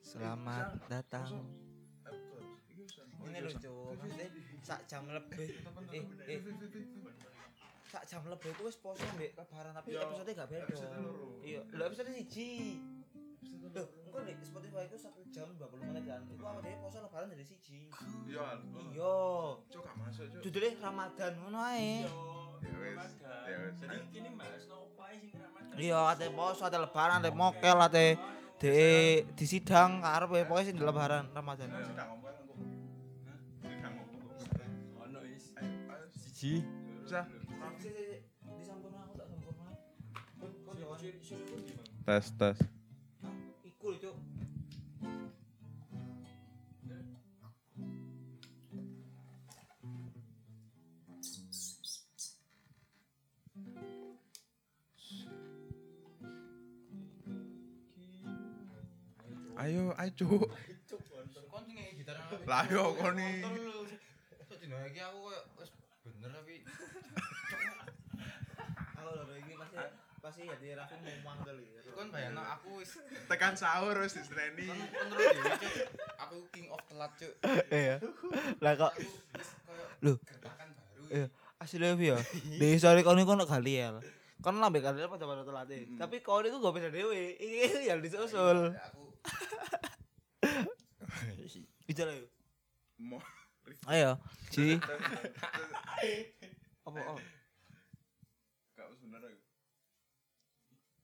Selamat datang. Ini lucu, maksudnya sak jam lebih. Eh, eh, sak jam lebih itu wis poso mbek kabaran tapi Yo, episode gak beda. episode loro. Iya, lho episode siji. Loh, engko nek Spotify itu 1 jam 20 menit kan. Iku awake dhewe poso lebaran dari siji. Iya, Al. Iya. Cok gak masuk, Cok. Judulnya Ramadan ngono ae. Ya wis, ya wis. Jadi gini mas, no opai sing Ramadan. Iya, ate poso, ate lebaran, ate mokel, ate de disidang karep ya, pokoknya sing lebaran Ramadan. Nah, Sedang ngomong aku. Sedang ngomong aku. Ono is. Ayo, ayo. Siji. Sah. Sik, sik, sik. Disampurna aku tak sampurna. Kok- kok jawaban? Tes tes. Iku itu. Ayo, ayo, Cok. Kon sing ngeki gitar nang aku. Lah yo koni. Kontol lu. Sok dino iki aku koyo wis bener tapi Aku lho ini pasti pasti ya di Raffi mau mantel ya. kon bayangno aku wis Tekan sahur wis distreni. kon kon ro dhewe cuk. Aku king of telat cuk. Iya. Lah kok Aku wis koyo Lho. gertakan baru. iya. asli ya. Di sore kon iku nek Galiel. Kon lambe Galiel pada pada telat eh. Tapi kon iku gak bisa dhewe. Iki ya disusul. Ya, Aku Bicara yuk. Mo. Ayo. Ji. Apa? oh. Gak wis bener aku.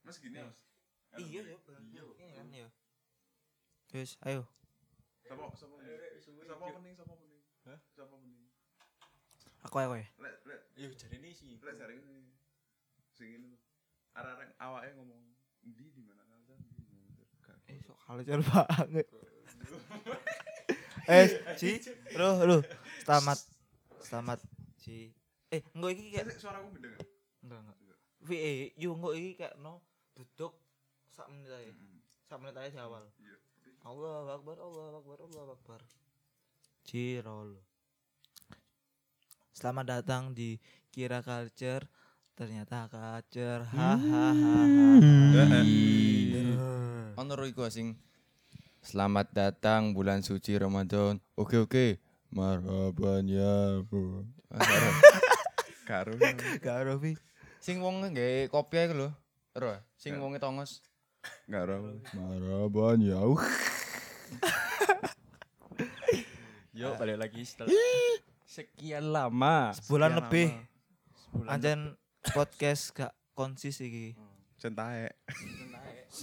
Mas gini, Mas. Iya ya. Ini kan ya. Wis, ayo. Sapa sapa mending? Sapa mending? Sapa mending? Hah? Sapa mending? Aku ayo ya. Lek lek Iya jadi ini sih. lek sering sing ngene. Arek-arek awake ngomong di di mana kan? Eh, sok kalian banget. eh, Ji. Ruh, ruh. Selamat. Selamat, Ji. Eh, engko iki kayak Sik suaraku beda enggak? Enggak, enggak. VE, yo engko iki kayak no duduk sak menit ae. Sak menit ae di awal. Iya. Allahu Akbar, Allahu Akbar, Allahu Akbar. Jirol. Selamat datang di Kira Culture. Ternyata culture. Hahaha. ono ro iku sing Selamat datang bulan suci Ramadan. Oke oke. Marhaban ya. Bu." Ah, karo. Karo. Gak ero, Vi. Sing wong nggae kopi iku lho. Ro, sing wonge tongos. Enggak ora. Marhaban ya. Ah. Yuk balik lagi setelah sekian lama. Bulan lebih. Anjen podcast gak konsis iki. Hmm. Centae.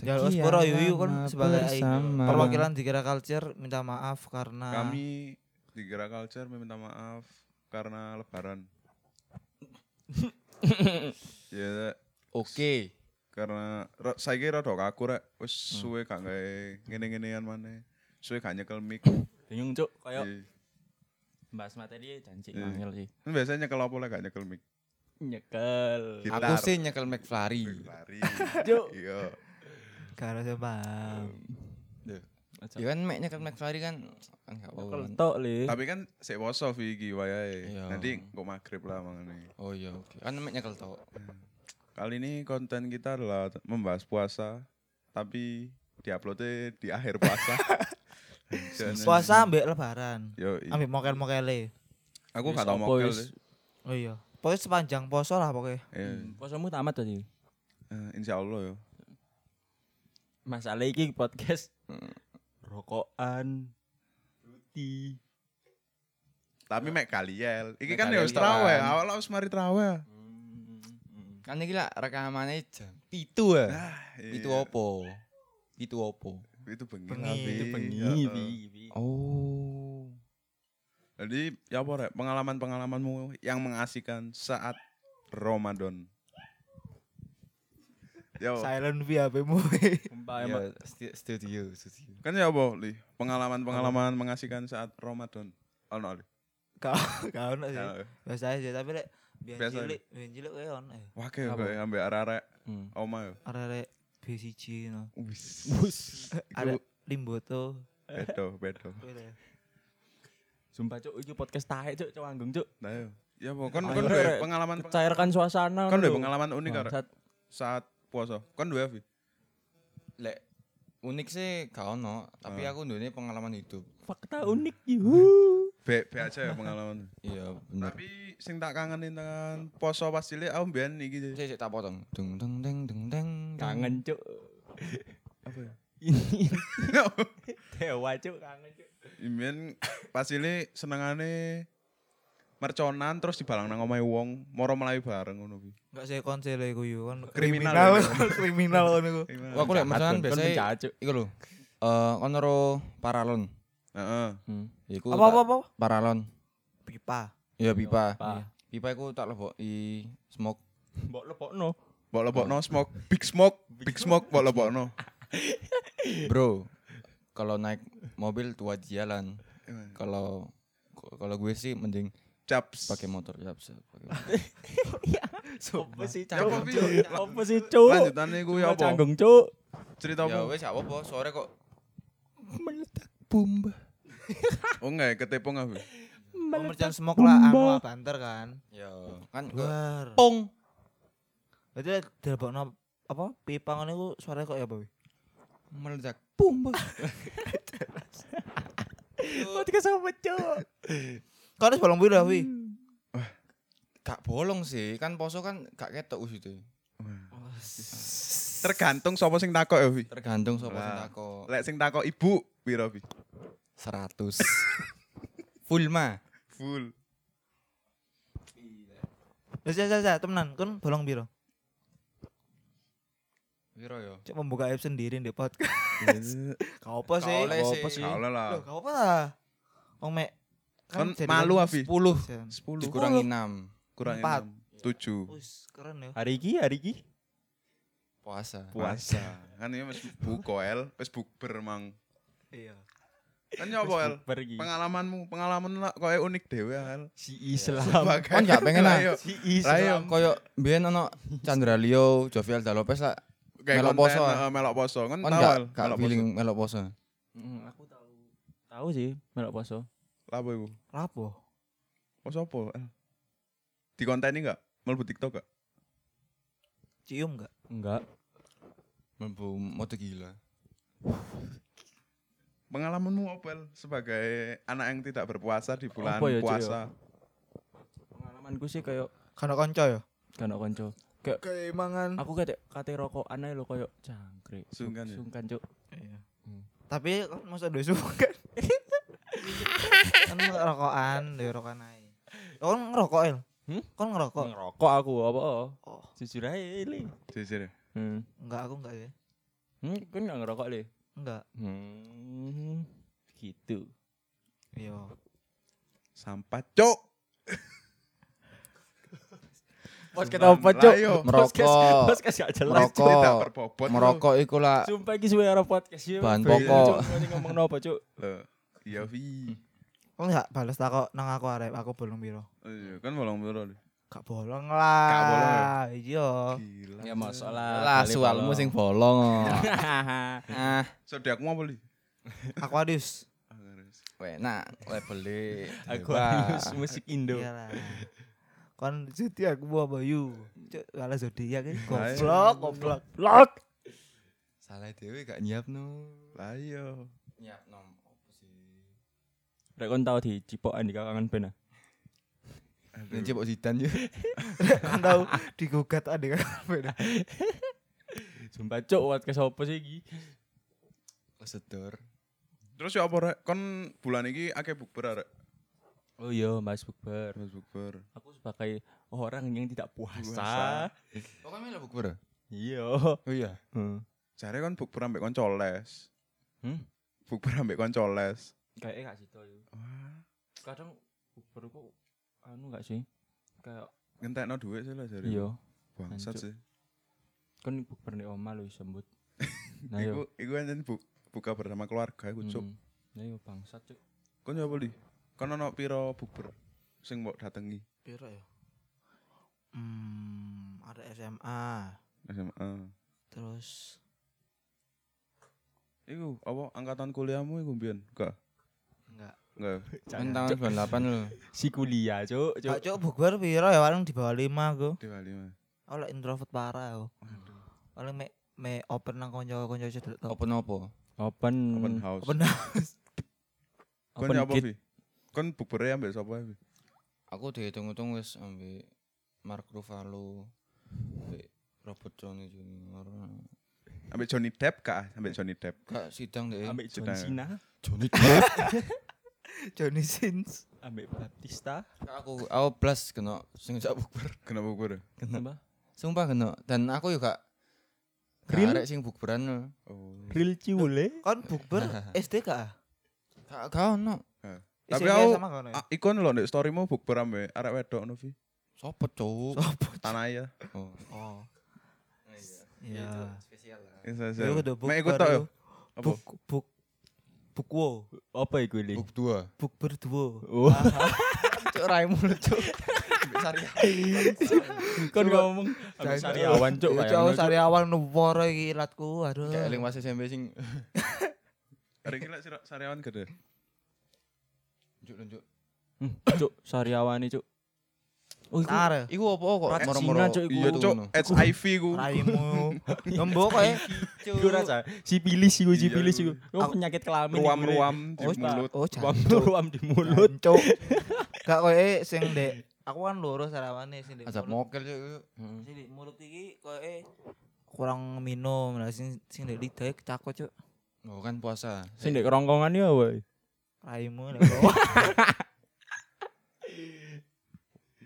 Ya wis pura yuyu kan sebagai perwakilan di Kira Culture minta maaf karena Ah. Kami di Gerak Culture meminta maaf karena lebaran. ya Oke. karena ro, saiki rada kaku rek. Wis Hmm. suwe gak gawe ngene-ngenean maneh. Suwe gak nyekel mic. Bingung cuk, kayak Iya. bahas materi eh, janji Iya. mangel sih. Kan biasanya nyekel opo lek gak nyekel mic. Nyekel. Gitar. Aku sih nyekel McFlurry. lari. Cuk. Iya. karena siapa? Hmm. Ya kan Mac nyekel McFlurry kan kan gak Nyekel apa-apa. tok le. Tapi kan sik poso Fi, iki wayahe. Iya. Nanti kok maghrib lah mangane. Oh iya oke. Kan Mac nyekel tok. Kali ini konten kita adalah t- membahas puasa tapi diuploadnya di akhir puasa. Jangan- Puasa ambek lebaran. Yo, i- Ambek mokel-mokele. aku Wis gak tau apa mokel. wis? sih. Oh iya. Pokoknya sepanjang poso lah pokoknya. Iya. Hmm, Posomu tamat tadi. Eh, Insya Allah yo. Masalah iki podcast Hmm. rokokan ruti. Tapi mek kaliel. Iki Mek kan ya wis kaliel, traweh, kan. awal wis mari traweh. Kan iki lah rekamane jam 7 ya. Ah, iya. Itu opo? Itu opo? Itu bengi. Bengi. tapi. Itu Heeh. Oh. Jadi ya apa rek, pengalaman-pengalamanmu yang mengasihkan saat Ramadan. Yo. Silent V HP-mu. Iya. Sumpah Ya, stu- studio, studio. Kan ya apa, Li? Pengalaman-pengalaman mengasihkan saat Ramadan. Oh, no, Li. Kau kau ono sih. Ya, Biasa aja tapi lek biyen Biasa. cilik, biyen cilik kayak ono. ya. Wah, kayak Apa? gue ambil arek-arek Hmm. oma yo. Arek-arek BCG no. Wis. Ada Limboto. Bedo, bedo. Sumpah cuk, iki podcast tahe cuk, cuk anggung cuk. Nah, yo. Ya apa, kon Ayo, kon rek. duwe pengalaman Cairkan suasana. kon duwe lho. pengalaman unik arek Bangsat. saat puasa. Kon duwe Avi. Lek unik sih gak ono, tapi aku dunia pengalaman hidup. Fakta unik yuhu. Be, be aja ya pengalaman. Iya, bener. Tapi sing tak kangenin tangan poso pas cilik aku mbiyen iki sih. Saya tak potong. Dung dung deng dung deng. Kangen cuk. Apa ya? Ini dewa cuk kangen cuk. Mbiyen pas cilik senengane merconan terus dibalang nang omahe wong, moro melayu bareng ngono kuwi. Enggak sih konsel iku yo kan. Kriminal. kriminal kan iku. Kriminal. Wah, aku lek Jahat, mesan Gun. Kon biasa penjahat, cuk. iku lho. Eh, ono ro paralon. Heeh. Hmm. Iku Apa apa tak- apa? Paralon. Pipa. Ya pipa. Pipa. Pipa iku tak leboki smoke. Iya. Mbok lepokno. Mbok Oh. lebokno smoke, big smoke, big smoke mbok lebokno. Bro, kalau naik mobil tua jalan. Kalau kalau gue sih mending Caps. pakai motor ya bisa pakai motor. Sopo sih Apa, canggung Pi? cuk? Apa sih cuk? Lanjutane kuwi Cuma ya apa? canggung cuk. Cerita Ya apa? wes gak apa-apa, sore kok Meledak bomba. Oh enggak, ketepung apa? Pemercian smoke lah anu Bomba. lah banter kan. ya kan ke Luar. pong. Berarti dilebokno apa pipa ngono iku suaranya kok ya apa? meledak pum. Podcast sama cuk. Kan wis bolong biru wi. Gak bolong sih, kan poso kan gak ketok wis itu. Tergantung sapa sing takok ya, Wi. Tergantung sapa sing Lah. takok. Lek sing takok ibu, piro, Wi? 100. Full mah. Full. Wis wis wis temenan, kan bolong biru. Piro yo? Cuk membuka aib sendiri di podcast. Eh. Kau apa sih? Gak oleh Kau sih. apa sih? Gak oleh lah. Loh, kau apa lah? Wong mek Kan malu, Afi. 10. 10 Dikurangi 6. kurang Empat. 6. 7. Wis keren ya. Hari iki, hari iki. Puasa. Puasa. kan ini wis buka El, wis bukber mang. Iya. Kan nyopo El? Pergi. Pengalamanmu, pengalaman lah kok unik dhewe El. ya? Si Islam. Kan gak pengen lah. Ayo. Si Lah iya. yo Islam. koyo mbiyen ono Chandra Leo, Jovial Dalopes lah. Kayak Melok melok poso, poso. El. Melok poso. Kan Kan tahu El, gak gak melok poso. feeling melok poso. Aku tahu. Tahu sih, melok poso. Lah apa iku? Lapo? Poso apa? El? Di konten ini gak? Eh. Mlebu TikTok gak? Cium enggak? Enggak. Mlebu moto gila. Pengalamanmu apa El? Sebagai anak yang tidak berpuasa di bulan Apa ya, Cuk, puasa. Pengalamanku sih kayak Kan kanca ya? kan kanca. Kayak mangan. Aku kate kate rokokan ae lho koyo jangkrik. Sungkan ya? Sungkan, Cuk. Iya. Tapi kan masa dua suka kan. kan rokokan, dua rokokan ae. Oh, Kon ngerokok, El? Hmm? Kon ngerokok? Ngerokok aku apa? Oh, Jujur ae, Li. Jujur ya. Hmm. enggak aku enggak ya. Hmm, kan gak ngerokok, Li. Enggak. Hmm. Gitu. Iya. Sampah, Cuk. Podcast Sunan apa, Cuk? Layo. Merokok. Podcast gak jelas. Merokok. Tidak berbobot. lu. Merokok iku lah Sumpah iki suwe ora podcast ya. Bahan Beli, pokok. Cuk. Ngene ngomong nopo, Cuk? Loh, Iya, Vi. Kon enggak balas takok nang aku arep, aku belum biro. Oh iya, kan bolong biro. Li. Gak bolong lah. Gak bolong ya? Iya. Gila. Ya mosok lah. lah balik sualmu bolong. sing bolong. Ah, Zodiakmu apa, Li? Aquarius. enak labele. Aquarius musik Indo. Iya lah. Kon jadi aku buah bayu. Cuk, kalah zodiak ini Ayo. goblok, goblok. Lot. Salah dhewe gak nyiapno. Lah iya. Nyiapno opo sih? Rek kon tau di cipokan di kakangan ben ah? Ini cebok sidan yo. Kan tahu digugat adik kan. Sumpah cuk podcast opo sih iki? Kesedor. Terus ya apa rek? Kon bulan iki akeh bukber rek. Oh iya, Mas Bukber. Mas bukber. Aku sebagai orang yang tidak puasa. Puasa. Pokoknya melu bukber. Iya. Oh iya. Hmm. Jare kon bukber ambek kon coles. Hmm? Bukber ambek kon coles. Kayaknya gak situ ya. Kadang Bukber kok anu gak sih? Kayak Ngentekno dhuwit sih lah jare. iya, Bangsat Hancur. sih. kan Bukber di oma lu sembut. Nah Iku yo. iku enten bu- buka bersama keluarga iku cuk. Hmm. Nah yo bangsat cuk. Kon ya apa li? Kon ono pira bukber sing mbok datengi? Piro ya? Hmm, ada SMA, SMA. terus Iku apa angkatan kuliahmu iku mbiyen? Enggak. enggak. Enggak. Kan tahun 98 lho. Si kuliah cuk, Ah, cuk. Cuk, cuk bukber piro ya paling di bawah 5 aku. Hmm, Dewa lima. Aku lek introvert parah aku. Paling mek me open nang konco-konco cedek to. Open apa? Open Open house. Open house. Kon open nyapa gate. Vi? Kon bubere ambek sapa Vi? Aku dihitung-hitung wis ambek Mark Ruffalo, ambek Robert Downey Jr. Ambek Johnny Depp kah? Ambek Johnny Depp. Kak sidang deh. ambek John Sudah. Cena, Johnny Depp. Johnny Sins. ambek Batista, aku aku plus kena sing jak bukber. Kena ya? bubere. kenapa? Sumpah kena. Dan aku juga Grill? Gak arek sing bukberan. Oh. Real Ciule. Kon bukber SDK. ah? Kak kau no. Tapi Isinya aku- sama kono ya? Ah, ikon lho nek storymu bukber ambek arek wedok no Vi. Sopo cuk. Sopo? Tanah ya. Oh. Oh. Ya, itu Iya. spesial lah. Yo kudu Mek ikut bukber. tok yo. yo. Apa? Buk buk bukwo, Apa iku li? Buk dua. bukber duo. Oh, Cuk raimu lu cuk. kon Kan ngomong ambek Jangan- sariawan cuk. Yo, bayangno, Cuk, Cuk. sariawan nuwara iki latku. Aduh. Kayak eling pas SMP sing Arek iki lek sira- sariawan gede. njuk njuk. Hmm, Cuk, sariawan cuk. Oh, iku Tar. Iku apa kok Racina, Cuk, iku. Iya, Cuk. HIV ku. Raimu. Ngembok kowe. Iku rasa sipilis iku Iya, sipilis iku. iku. Oh, penyakit kelamin. iku, Li. Ruam-ruam di Oh, tak. mulut. Oh, jancuk. Ruam-ruam di mulut. Cuk. Gak kowe sing ndek. Aku kan loro sarawane sing ndek. Azab mulut. mokel cuk. iku. Sing ndek mulut iki kowe kurang minum lah sing sing ndek lidah kecakot cuk. Oh kan puasa. Sing ndek kerongkongan ya, woy. Raimu lek bawah.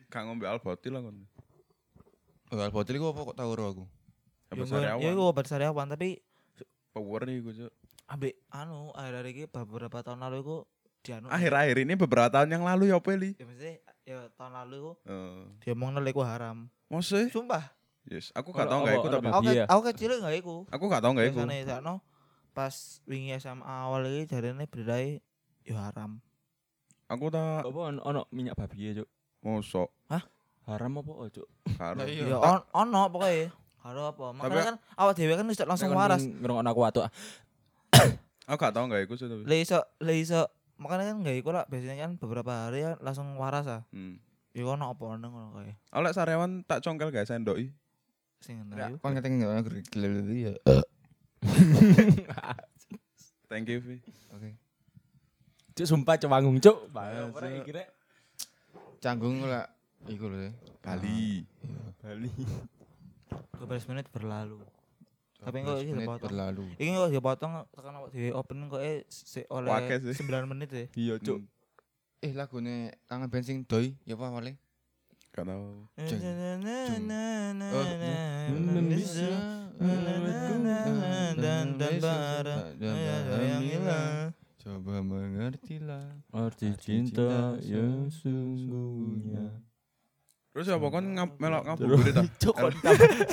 Gak ngombe albotil lah kon. Oh, albotil iku apa kok tau ro aku? Ambek Ya sariawan. iku obat sariawan tapi Power iku, Cuk. ambek anu akhir-akhir iki beberapa tahun lalu iku dianu. Akhir-akhir ini beberapa tahun yang lalu ya apa li? Ya mesti ya tahun lalu iku Eh, diomongno lek iku haram. Mose? Sumpah. Yes, aku gak Ono- tau gak apa- iku ono tapi bab- Aku ke- Iya. aku kecil gak iku. aku gak tau gak iku. Biasane sakno pas wingi SMA awal iki jarene berai ya haram. Aku tak Apa ono- ono minyak babi ya, cuk? mosok Haram apa, oh, cuk? karo. Lah iya. Ya on ono pokoke. Karo apa? Makanya kan awak dhewe kan wis tak langsung Nek kon waras. Ngerungokno aku atuh. Aku gak tau gak iku sih tapi. Le iso le iso makanya kan gak iku lah biasanya kan beberapa hari kan langsung waras ah. Hmm. Ya ono apa ono ngono kae. Aku lek sariawan tak congkel gak sendoki. Sing ngono iku. Kon ngeteng enggak aku gila ya. Thank you, Vi. Oke. Cuk sumpah cuk wangung cuk. Ayo, Ora Cuk. iki rek. Canggung lah iku lho. Bali. Bali. 12 menit berlalu. Tapi kok kok iki dipotong. berlalu. Iki kok dipotong tekan awak dhewe opening kok eh sik oleh Wakil sih. 9 menit e. ya. Iya, cuk. Hmm, Eh lagune tangan bensin doi ya apa wale? Gak tau. Jeng, jeng. Oh, Mmm, Indonesia Mmm, Mmm, dan dan Ya, bara yang hilang. Coba mengertilah Arti cinta yang sungguhnya. Terus apa kon ngap melok ngabuburit ta? Cuk kon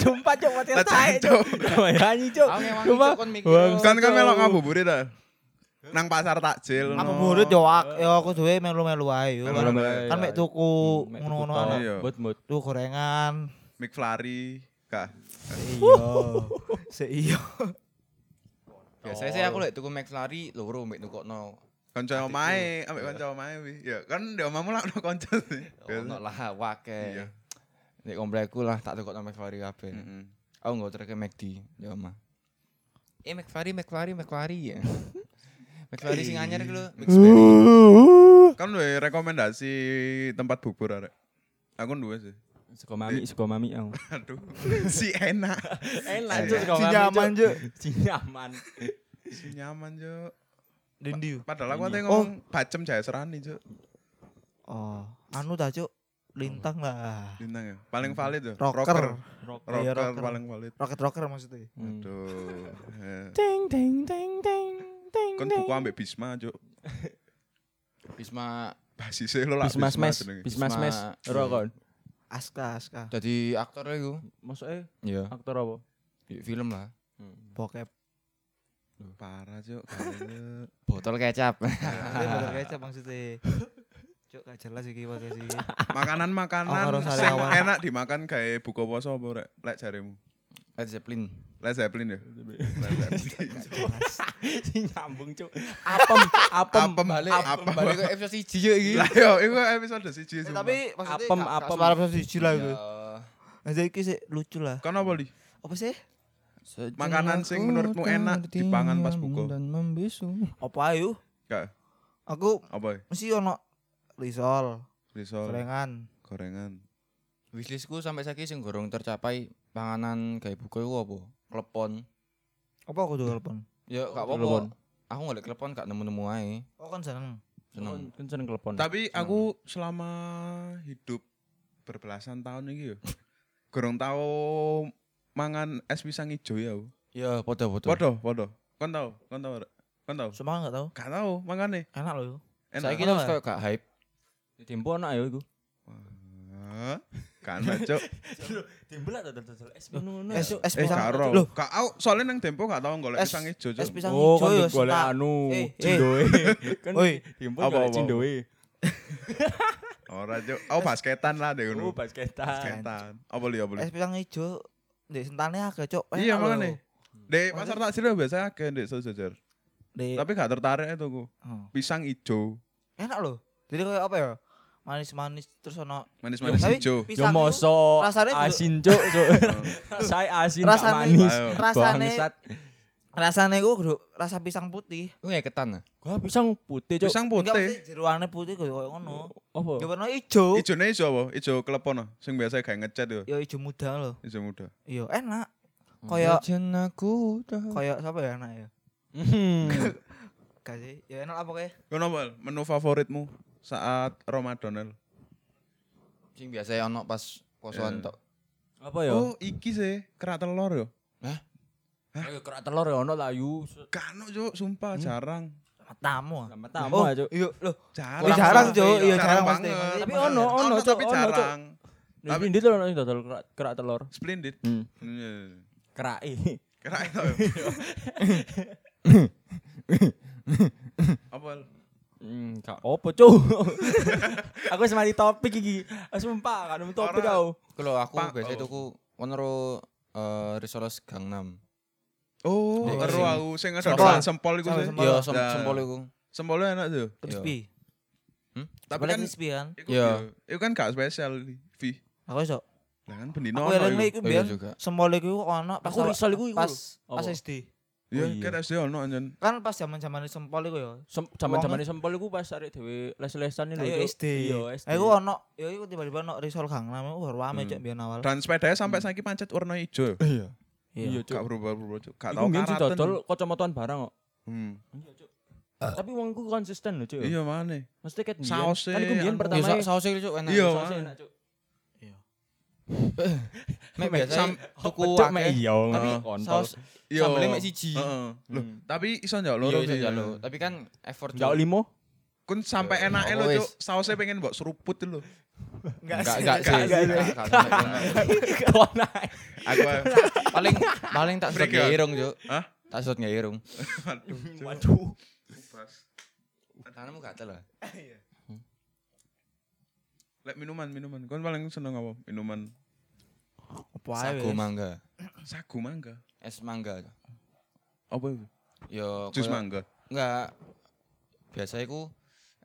sumpah cuk mati tae cuk. Nyanyi cuk. Aku ngewangi Coba. cuk, kon mikir. Wah, Kan kan melok ngabuburit ta. Nang pasar takjil. Apa no. murid yo ak yo aku dhewe melu-melu ae yo. Melu-melu. Kan mek tuku ngono-ngono tuku ana. Iya. Mut mut. Tuku gorengan. McFlurry. Kak. Iya. Sik iya. Biasanya sih aku lek tuku McFlurry loro mek nukokno. Kanca omae, ambek kanca omae wi. Ya kan di omamu lah ono kanca sih. Oh, Biasa. Ono lah Iya. wake. Nek komplekku lah tak tukokno McFlurry kabeh. Mm-mm. Aku nggak terke McD ya mah. Eh McFlurry McFlurry McFlurry ya. McFlurry sing anyar iku lho. McFlurry. Uh. Kan duwe rekomendasi tempat bubur arek. Aku duwe sih. Seko mami, seko mami aku. Aduh, si enak. Enak Cuk, seko mami. Sinyaman cuk. Sinyaman. Si nyaman, Cuk. Dendi. Padahal aku Ini. tadi ngomong bacem jaya serani, Cuk. Oh, anu ta cuk. Lintang lah. Bintang ya. Paling valid ya. Rocker. Rocker. Rocker, Iya, rocker. paling valid. Rocket rocker maksudnya. Aduh. Eh, Ting ting ting ting ting. Kan buku ambek Bisma, Cuk. Bisma Basise lo lah Bisma smash, jenenge. Bisma Bisma- smash. Ora kon. Aska, aska. jadi aktor iku. Maksudnya Iya. aktor apa? Film lah. Hmm. Bokep. Parah, Cuk. Gale. Botol kecap. Ini bener kecap maksudnya. Cuk, gak jelas iki podcast iki. Makanan-makanan Orang-orang sing sariawan. enak dimakan kayak buka puasa apa rek? Lek jarimu. Led Zeppelin. Led Zeppelin ya. Led Zeppelin. Sing nyambung cuk. Apem, apem, Apem, balik, apem. Balik ke episode 1 ya iki. Lah yo, iku episode siji Eh, sumpah. tapi maksudnya Apem, gak- gak apem. iya. suara siji lah iku. Ya. Maksudnya iki sih lucu lah. kan apa li? Apa sih? Makanan sing menurutmu enak dipangan pas buka. Dan membisu. Apa ayo? Gak, Aku apa? mesti ono risol, Risol, gorengan. gorengan. Wishlistku sampai saiki sing gorong tercapai panganan gawe buka iku apa? Klepon. Apa aku jual pon? Ya gak Klepon. apa-apa. Aku golek klepon gak nemu-nemu ae. Oh kan seneng. Seneng. Kan seneng telepon. Tapi aku selama hidup berbelasan tahun iki yo. Gorong tau mangan es pisang ijo ya. aku. Ya padha-padha. Podo, podo. Kon tau, kon tau. Rek? Kon tau. Semang enggak tahu. Gak tau mangane. Enak loh. Enak. Saiki Enak terus apa? koyo gak hype. Tempo anak ya iku. Hah? Kan cok. Tempo lah dodol es ngono. Es es Eh, pisang. karo. Loh, Gak au, soalnya nang tempo gak tau golek Es- pisang ijo, es cok. pisang oh, hijau kan ya. golek setak. anu, Eh, eh. cindoe. kan Oi. tempo Apa, golek apa, cindoe. Ora cok. Oh, basketan lah deh Oh, ngono. basketan. Basketan. Apa li, apa li? Es pisang hijau. Di sentane agak cok. Enak Iya, loh. mangane. Di pasar takjil ya biasa akeh ndek sejajar. Di- Tapi gak tertarik itu aku. Oh. Pisang ijo, Enak loh. Jadi kayak apa ya? Manis-manis terus ono manis-manis Tapi ijo. Yo pisang itu moso rasanya juga- asin cuk, cuk. Saya asin tak Rasanya- manis. Ayo. Rasanya- Bangsat. rasanya gue kudu rasa pisang putih. Ku ngeketan. Gua pisang putih cuk. Pisang Enggak putih. mesti jeruane putih kudu kayak ngono. Apa? Ya warna ijo. Ijone ijo apa? Ijo klepon ah, sing biasa kayak ngecat yo. Ya ijo muda loh. Ijo muda. Iya, enak. Kayak Jen aku udah. kayak siapa ya enak ya? Mhm. Gak sih? Ya enak apa kayak? Ngono apa? Menu favoritmu saat Ramadan El? Sing biasa ono pas posoan Iya. tok. Apa Iya. ya? Oh, iki sih kerak telur yo. Ayo kerak telur ya ono lah yu. Kano cuk, sumpah Hmm. jarang. Matamu. ah. Sama tamu aja. Iya, loh. Jarang. Iya jarang, Cuk. Iya jarang pasti. banget. Tapi ono, ono, Cuk, tapi ono, Cuk. jarang. Tapi- Tapi ini tuh ono sing dodol kerak- kerak telur. e. Splendid. Hmm. Iya. Kerai. Kerak itu. yo. Apa? El? Hmm, gak opo cu Aku wis mati topik iki. Aku Sumpah gak nemu topik Ora. aku. Kalau aku Pa- biasa oh. tuku ono ro eh, Risoles Gangnam. Oh, Iya, ero sing- aku sing ada sempol. dolan sempol iku Sempol, sih. sempol. Iya, sem- Nah. sempol iku. Sempolnya enak tuh. Crispy. Tapi Boleh kan crispy kan? iku Iya. yo, iku kan gak spesial Vi. Aku iso. Lah kan bendino Aku ya, ono eling iku. iku Oh, iya biyen juga. semol iku ono pas Aku risol iku iku pas lho. pas Apa? SD. Iya, Oh, iya. kan SD ono anjen. Kan pas zaman-zaman sempol iku ya. Sem- Zaman-zamane sempol iku pas arek dhewe les-lesan lho. Ayo Cuk. SD. Iya, SD. Aku ono, ya iku tiba-tiba ono risol Gangnam iku baru rame cek biyen awal. Dan sepedanya sampai saiki pancet warna ijo. Iya. Iya, Cuk. Gak berubah-berubah cuk. Gak Iku tau mungkin sih karaten. dodol kacamataan barang kok. Hmm. Tapi wong iku konsisten lho, Cuk. Iya mana? Mesti ket mbiyen. Sausnya, Kan iku mbiyen anu. pertama Iya, sausnya itu enak. Iya. sausnya Mak. enak, Cuk. Mek biasa Sam- tuku Cuk, mek akeh. iya. Tapi saus Iya. sambelnya mek siji. Hmm. Heeh. Loh, tapi iso njak Iya, loro iya, Vi. iya, lho. Tapi kan effort. Jauh Cuk. limo. Kun sampai enak Iya, lo wis. cuk. Sausnya pengen mbok seruput lho. Enggak, enggak sih. Enggak, Enggak, enggak. enggak, enggak. Kawan ae. Aku Paling paling tak sedot Break ya? nggak irung, Cuk. Hah? Tak sedot nggak irung. aduh. Cuk. Waduh. Tanganmu gatel lah. Lek minuman, minuman. Kon paling seneng apa? Minuman Apa ae Sagu wis. mangga. sagu mangga. Es mangga. Apa itu? Yo Jus koyo- mangga. Enggak. Biasa iku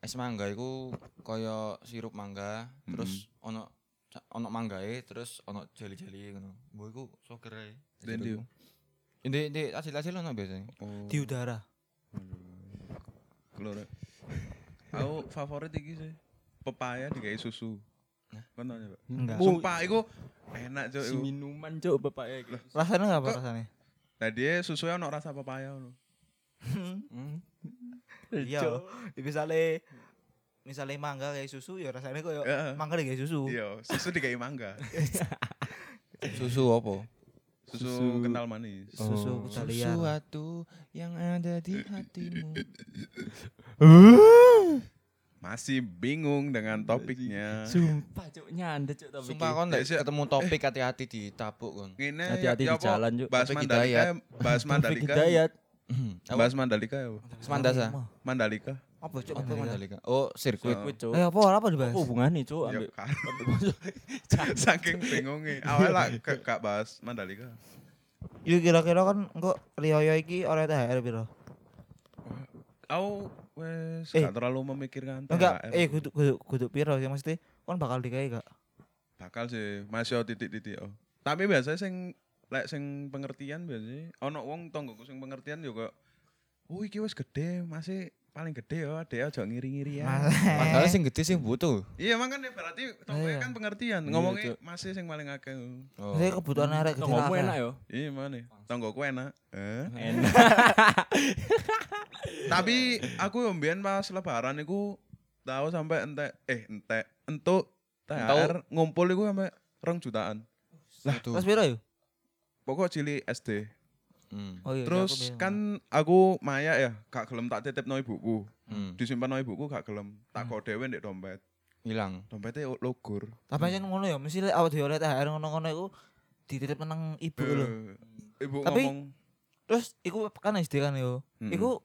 es mangga iku kaya sirup mangga, terus ono ca- ono manggae, terus ono jeli-jeli ngono. Mbok iku soger ae. Dan dia. Ini ini hasil-hasil ono biasanya. Oh. Di udara. Keluar. Aku favorit iki sih. Pepaya dikai susu. Kan tanya, Pak. Enggak. Bu- Sumpah iku enak cuk. Nah, Si iku. minuman, Cuk, bapak e. Rasanya enggak apa Kok- rasanya? Nah dia susunya ono rasa pepaya ono. Iya. Misalnya misalnya mangga kayak susu ya rasanya koyo Heeh. mangga kayak Oh. susu. Iya, susu dikai mangga. Susu apa? Susu, Susu. Oh. kental manis. Oh, Susu ah. kita Iya. lihat. Sesuatu yang ada di hatimu. Masih bingung dengan topiknya. Sumpah, Cuk, nyandet, Cuk, tapi. Sumpah kon Ya, lek siap. ketemu topik hati-hati ditabuk kon. Ngene Hati-hati ya di apa? jalan, Cuk. Bahas Topik Mandalika, Hidayat. bahas Mandalika. Hidayat. Apa? Bahas Mandalika ya. apa? Semandasa. Mandalika. Apa cok? Apa Mandalika? Mandalika? Oh, sirkuit. Kuwi, Cuk. Eh apa apa dibahas? Apa hubungannya, Cuk, Ya ambek karo. Saking bingungnya. Awal lah gak gak bahas Mandalika. Yo kira-kira kan engko riyo iki ora THR piro? Aku wes Eh. gak terlalu memikirkan Enggak, THR. eh kudu kudu kudu piro sih mesti kon bakal dikai gak? Bakal sih, masih titik-titik. oh. Tapi biasanya sing lek sing pengertian biasanya ono wong tonggoku sing pengertian yo kok oh iki wis gede masih paling gede ya adek aja ngiri-ngiri Iya. ya Padahal sing gede sing butuh. iya makanya berarti tonggonya Iya. kan pengertian Iya, ngomongnya Cuk. masih sing paling akeh Oh. Saya kebutuhan arek gede Tonggomu akeh. enak yo. iya mana tonggoku enak eh? Enak. tapi aku yo mbien pas lebaran iku tahu sampai entek eh entek entuk THR ngumpul iku sampai rong jutaan Butuh. Mas piro yo? iya, pokok cilik SD Hmm. Oh iya. terus aku bilang. kan aku maya ya gak gelem tak titip no ibuku Hmm. disimpan no ibuku gak gelem tak kau dewe ndek dompet Hilang. dompetnya o- logur tapi kan ngono ya, mesti lek awak dhewe oleh THR ngono-ngono iku dititip nang ibu lho. Eh, ibu Tapi- ngomong Terus iku kan SD kan yo. "Mm-mm." Iku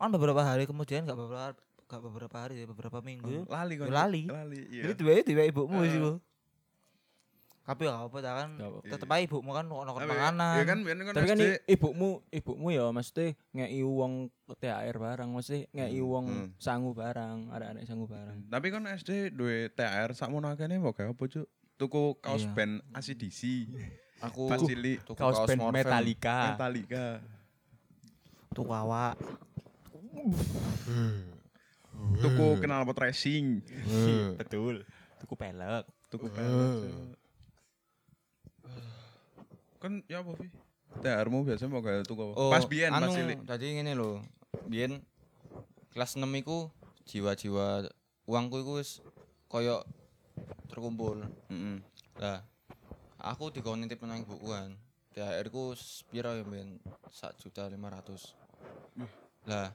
kan beberapa hari kemudian gak beberapa gak beberapa hari ya, beberapa minggu. "Hmm, lali kan lali. lali iya Hmm. Jadi duwe duwe ibumu Heeh. sih iku. Tapi ya apa ta kan Gak apa-apa. tetep ae ibumu kan ngono Tapi- makanan. iya kan biyen kan Tapi kan SD, i- ibumu, ibumu ya mesti ngei wong THR barang, mesti ngei wong Hmm. sangu barang, arek-arek sangu barang. tapi kan SD duwe TR sakmono akene mau kayak apa cuk tuku kaos Iya. band ACDC Aku pas cilik tuku Kaos band Morphem. Metallica. Metallica Tuh awak. tuku kenal pot racing Eh. Betul. Tuku pelek. tuku pelek Cuk. kan ya apa sih TR-mu biasanya mau kayak tuku apa? Oh, pas biyen anu, pas cilik Tadi ngene lho. Biyen kelas 6 iku jiwa-jiwa uangku iku wis koyo terkumpul. Mm-mm. Lah, aku dikon nitip nang ibuku kan. THR ku piro ya ben? 1 juta 500. Lah.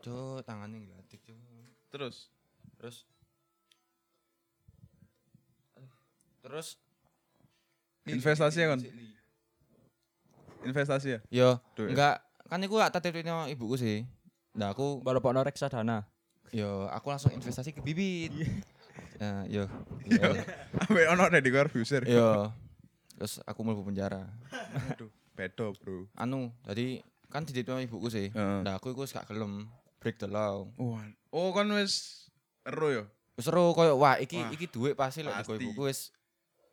Cuk, tangane ngelatik cuk. terus Terus Terus investasi ya kan investasi ya yo Duit. enggak kan iku tak titipno ibuku sih. Nah aku Balapokno reksadana. Yo, aku langsung investasi ke bibit. Eh, yo. Yo. Ambe ono Deddy Corbuzier. yo. Terus aku mlebu penjara. Aduh, bedo, Bro. Anu, tadi kan dititip sama ibuku sih. Heeh. Nah, aku iku wis gak gelem break the law. Oh, kan wis ero ya. Wis ero koyo wah iki Wah, iki dhuwit pasti lek pasti. iku ibuku wis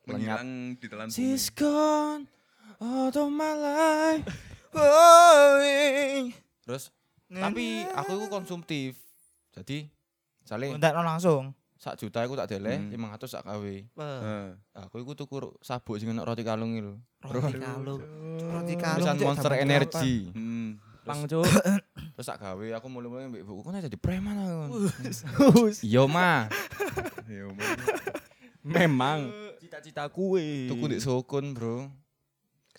lenyap. Menghilang di telan bumi. She's gone out of my life. Terus tapi aku iku konsumtif. Jadi sale Ndak langsung. sak juta aku tak deleh, Hmm. 500 tak gawe. Wah, Heeh. Aku iku tuku ro- sabuk sing ono roti kalung iki lho. Roti kalung. Roti kan kalung. Tulisan Cuk, Monster dapat Energy. Hmm. Pang cuk. Terus tak gawe aku mulai-mulai mbek ibuku kan jadi preman aku. berapa? Iya, Ma. Ya Om. Memang cita-cita kue. Tuku ndek sukun, Bro.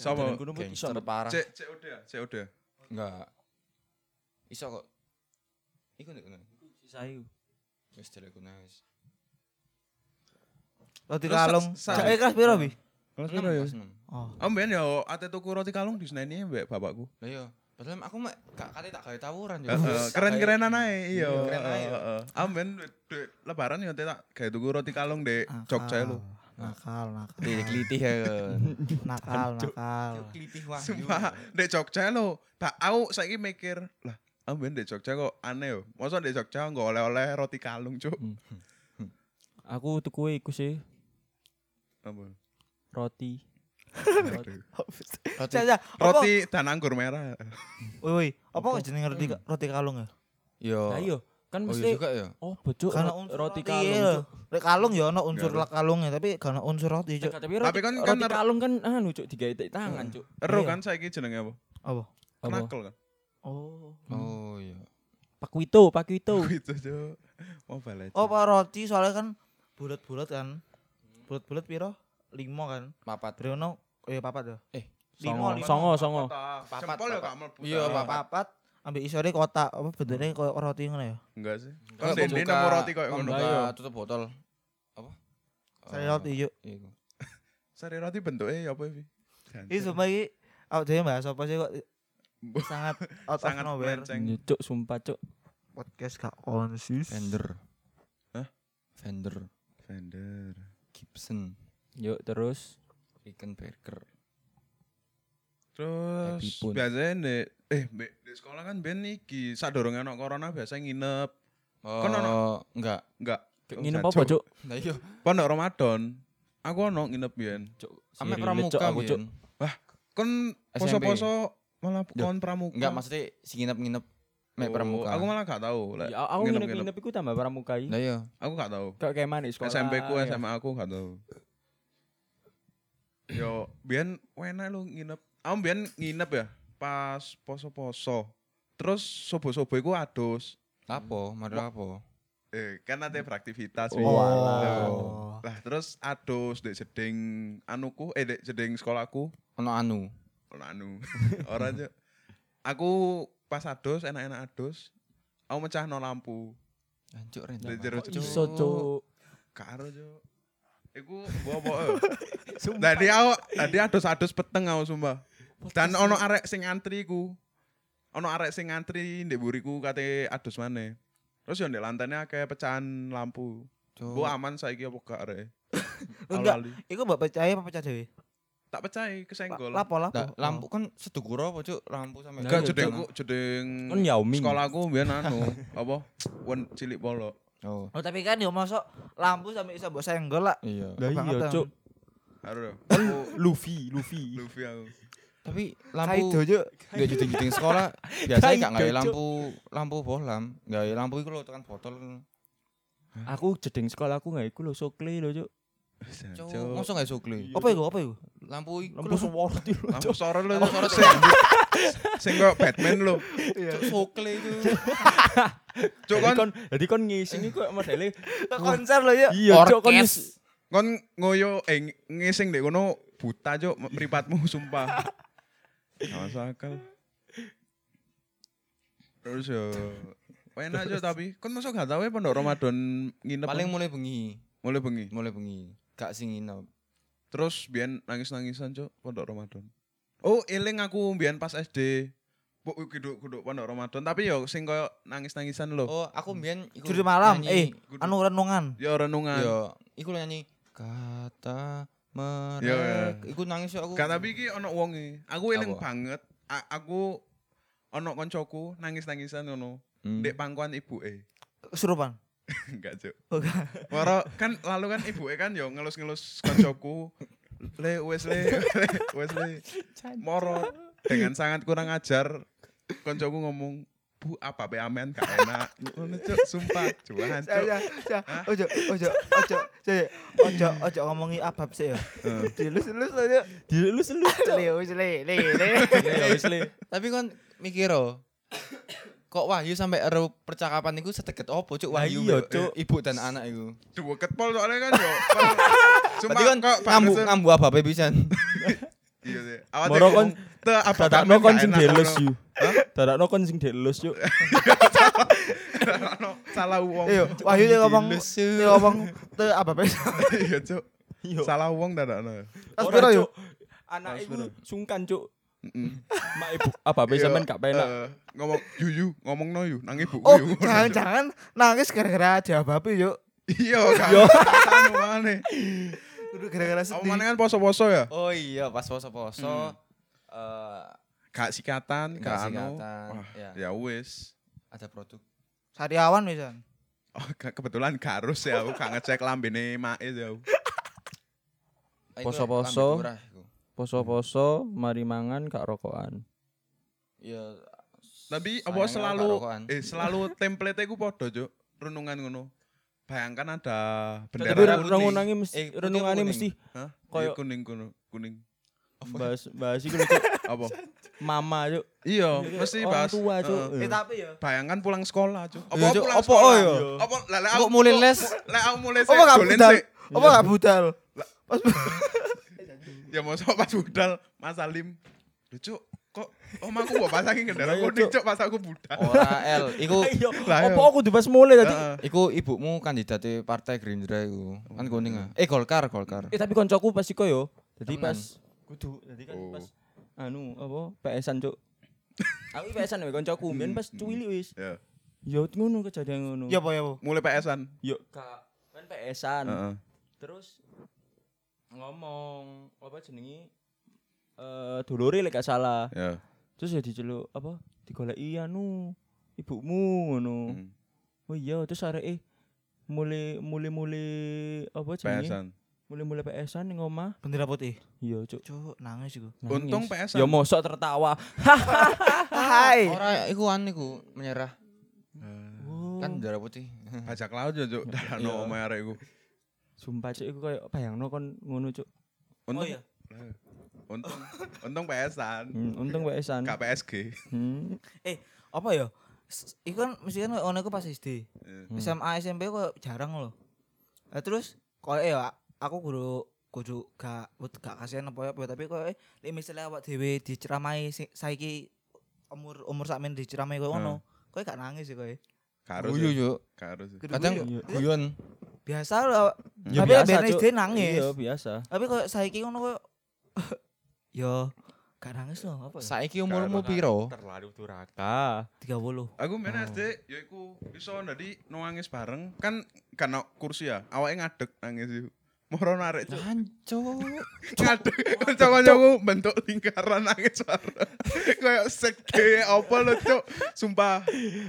Sapa? Gunung pun iso. Gangster parah. Cek cek udah, ya? cek udah. Enggak. Iso kok. Iku ndek kono. Sayu. Wis delek kono wis. Roti Terus sa- kalung. sa- Cak kelas piro, Bi? Kelas ya? Enam, kelas enam. Oh. Om ben ya ate tuku roti kalung di Seneni mbek bapakku. Lah iya. Padahal aku mek gak kate tak gawe tawuran yo. Heeh, Eh, Keren-kerenan ae, iya. Keren ae, Heeh, ya. heeh. Om ben duit- duit lebaran ya ate tak gawe tuku roti kalung di Jogja lu. Nakal, nakal. Klitih ya. Nakal, nakal. Klitih wah. Sumpah, di Jogja lo. Pak aku saiki mikir, lah, Om ben di Jogja kok aneh yo. Masa di Jogja nggak oleh-oleh roti kalung, Cuk? Aku tuku iku sih Apa? roti. Roti. Cak, cak. Roti. Roti dan anggur merah. Woi, woi. Apa jenenge roti roti kalung ya? Yo. Lah iya, kan Oh iya mesti juga ya. Oh, bocok Karena roti, unsur roti iya. kalung. Cuk. Lek kalung ya ono unsur Nggak lek kalungnya, tapi karena unsur roti, Cuk. Teka, Tapi roti, Tapi kan- roti kan ner- kalung kan anu cuk digawe tek tangan cuk. Ero Iya. kan saiki jenenge apa? Apa? Apa? Knuckle kan. Oh. Oh iya. Pakwito, pakwito. Gitu, Cuk. Mobile Legends. Oh, apa roti soalnya kan bulat-bulat kan. Bulat-bulat piro? 5 kan. Papat. Briono eh papat ya. Eh, Songo, Lima, lima. songo, songo. Papat, Jempol ya papat. gak mlebu. Iya, ta. papat. Papat ambek isore kotak apa bentuknya koyo roti ngono ya. Enggak sih. Kan Kalau dene nomor roti koyo ngono. pembuka. Ayo. tutup botol. Apa? Sari Eh, roti, Cuk. Iku. Sari roti bentuke ya apa iki? Ini sumpah ini Aku jadi bahas apa sih kok Sangat out of sangat nowhere melenceng. Iya, Cuk, sumpah cuk. Podcast gak konsis Fender. Hah? Fender Fender. Gibson Yuk terus. Rickenbacker. Terus Happy pun. biasanya di, eh mbek di sekolah kan ben iki sadurunge ono corona biasa nginep. Oh, Kan ono? enggak. Enggak. Nginep apa cuk? Lah iya. Pondok Ramadan. Aku ono nginep biyen. Cuk, Siri Ame lecok pramuka aku, Cuk. mungkin. Kon SMP. poso-poso malah Duh, kon pramuka. Enggak maksudnya si nginep-nginep mek Oh, pramuka. Aku malah gak tahu. Lek, Ya, aku nginep-nginep. nginep-nginep iku tambah pramuka iki. Lah iya. Aku gak tahu. Kayak kayak mana sekolah. SMP ku, ya. SMA aku gak tahu. Yo, biyen wena lu nginep. Aku biyen nginep ya pas poso-poso. Terus sobo-sobo iku adus. Lapo, mari lapo. Eh, kan nanti beraktivitas Oh, Wi. walah. Tuh. Lah terus adus dek jeding anuku, eh dek jeding sekolahku. Ono anu. Ono anu. Ora Cuk. Aku pas adus enak-enak adus. Aku mecah no lampu. Hancur rent. Dari jero Kok Iso cuk. Karo Cuk. Iku gua apa? Tadi aku tadi adus-adus peteng aku sumpah. Dan ono arek sing ngantri iku. Ono arek sing ngantri ndek buriku kate adus maneh. Terus yo ndek lantainya akeh pecahan lampu. Cuk. Gua aman saiki apa gak arek? Enggak, iku mbak percaya apa percaya dhewe? Tak pecahi kesenggol. Lapo lapo. Lah, lampu kan sedukura apa cuk? Lampu sampe. Enggak Nah, iya, jedengku, jedeng Kan Yaomi. sekolahku biyen anu, apa? Wen cilik polo. Oh. Oh tapi kan yo masuk lampu sampe iso mbok senggol lah. Iya. Lah iya Kebangetan. cuk. Aduh, Luffy, Luffy. Luffy aku. Tapi Kaido lampu yuk. Gak juting-juting sekolah Kaido, Biasanya gak ngai Cuk. lampu Lampu bohlam Gak lampu itu lo tekan botol Aku jedeng sekolah aku nggak iku lho sokle lho cuk. Cuk, Cuk. masa gak sukli Apa iku? Apa iku? Lampu itu Lampu sewarti lho Lampu cuk. sore lu. Lampu sore, Sing- Sing kok Batman lu. sukli itu Cuk Jadi kon kon, jadi kon ngising iku modele Konser lo yuk. Iya, cok kon Orkes. wis- kon ngoyo eh ng- ngising dek kono buta cuk mripatmu sumpah. Gak masuk akal. Terus yo enak cuk tapi kon masuk gak tau ya pondok Ramadan nginep Paling mulai bengi mulai bengi. Mulai bengi Gak sing nginep Terus biyen nangis-nangisan cuk pondok Ramadan. Oh, eling aku biyen pas SD. Bu kudu kudu pondok Ramadan tapi yo sing koyo nangis-nangisan lho. Oh Hmm. aku mbien iku Juru malam, eh, nyanyi. anu renungan. Yo renungan. Yo, Iku lo nyanyi Kata Yo, merek yo. Iku nangis yo aku Gak tapi iki ono wonge. Aku eling Apa? banget. A- aku ono koncoku nangis-nangisan ngono. Hmm. Ndek pangkuan ibuke. Kesurupan. Enggak, Cuk. Oh, enggak. Moro kan lalu kan ibuke kan yo ngelus-ngelus koncoku. Le wes le, le, wes le. Moro dengan sangat kurang ajar koncoku ngomong Bu apa be amen gak enak. Ngono cuk, sumpah cuan ya. cuk. ojo, ojo, ojo, saya, ojo, ojo ngomongi abab sih ya. Dilus, dilus lo yuk. dilus-lus cuk. Leus, le, le, le. Ya wis le. Tapi kan mikir oh, kok Wahyu sampai ero percakapan itu sedekat opo cuk Lah Wahyu iya, Mbak. Cuk. ibu dan anak itu. Duweket pol soalnya kan yo. Sumpah Berarti kan kok ngambu barusan- ngambu apa pisan. Iya sih. Awalnya Moro kon- ngomong, "Te, apa be Dadakno amen kon gak sing enak," dilus ngono. yu. Dadakno kon sing dilus cuk. Dadakno Salah wong. Iya. Ayo, Wahyu dia ngomong, Dilus, yuk. dia ngomong, te abab sih. Iya cuk. Yo. Salah wong dadakno. Tas Ora, piro Cuk. yuk? Anak Tas iku piro? sungkan cuk. Heeh. Mak ibu apa be Iya, sampean gak penak. eh, ngomong yu yu ngomong no yu nang ibu Oh, yu. jangan-jangan nangis gara-gara jawab yuk. Iya kan. Yo. Kan mana? Kudu gara-gara Apa sedih. mana kan poso-poso ya? Oh iya pas poso-poso eh Kak sikatan, kak Gak Hmm. anu. sikatan, Wah, ya. Ya wis. ada produk. Sariawan misalnya. Oh, ke- kebetulan gak harus ya, aku gak ngecek lambene mae ya. aku. Ah, iku Poso-poso. lambe murah iku. Poso-poso mari mangan gak rokokan. Iya. Tapi sayangnya apa aku gak selalu rokokan. eh selalu template ku padha, Cuk. Renungan ngono. Bayangkan ada Tapi Darah bendera putih. renungannya Eh, mesti putih apa renungane kuning? mesti Hah? koyo- Iya, kuning kuning kuning. bahas bahas iku lho, Cuk. Apa? Mama cuk. Iya, mesti Orang bahas. tua cuk. Heeh. Eh, tapi ya. Bayangkan pulang sekolah, Cuk. Iya, Cuk. pulang Apa, oh, iya. Apa lah lah, Kok mulai kok- les? Lah aku mulai Apa sik, gak dolen budal? sik. Apa gak budal? Pas Ya masa pas budal Mas Salim. Lho cuk, kok om aku mau pasangin kendara Iya, kuning Cuk. cuk pas aku budal. Ora L iku Ayo, Lah, iya. apa aku dibahas mulai tadi? Heeh. iku ibumu kandidat partai Gerindra iku. Kan kuning ah. Eh Golkar, Golkar. Eh tapi koncoku pas iku yo. Jadi Temenan. pas kudu, jadi kan Oh. pas anu apa PS-an cuk. Aku PS-an ambek koncoku, mbiyen pas cuwili wis. Ya. Yo ngono kejadian ngono. Ya apa ya apa? Mulai PS-an. Yo kak kan PS-an. Heeh. Terus ngomong apa jenengi? Eh dolore lek gak salah. Ya. Terus ya diceluk apa? Digoleki anu ibumu ngono. Mm. Oh iya, terus areke mulai mulai mulai e apa jenenge? PS-an. mulai-mulai PSan ning omah. Bendera putih. Iya, cuk. Cuk, nangis iku. Nangis. Untung PSan. Hmm. Ya mosok tertawa. Ah, eh. Hai. Ora iku an iku menyerah. Oh. Kan darah putih. Ajak laut yo, Cuk. Dalano Iya. omahe arek iku. Sumpah cuk iku koyo bayangno kon ngono cuk. Oh Untung iya. untung untung PSan. Hmm, untung PSan. Gak PSG. Hmm. Eh, apa ya? S- Iku kan mesti kan ono iku pas SD. Hmm. SMA SMP kok jarang loh. Nah, terus koyo ya aku guru kudu gak wet- gak kasihan apa apa tapi koyo eh, lek misalnya awak dhewe diceramai si- saiki umur umur sakmen diceramai koyo ngono. Koyo gak nangis sih koyo. Gak harus. Oh, Guyu ya. yo. Gak harus. ya. Kadang Iya. guyon. Biasa loh. awak- Ya tapi biasa, biasa, Cuk. SD nangis. Iya, biasa. Tapi koyo saiki ngono koyo yo gak nangis loh apa ya? Saiki umurmu piro? Terlalu duraka. 30. Aku main Oh. SD ya iku iso dadi nangis bareng kan karena kursi ya awake ngadeg nangis iku. Moro narik Cuk. Hancur. ngadeg kanca-kancaku bentuk lingkaran nangis bareng. Kayak sekte apa lho Cuk. Sumpah.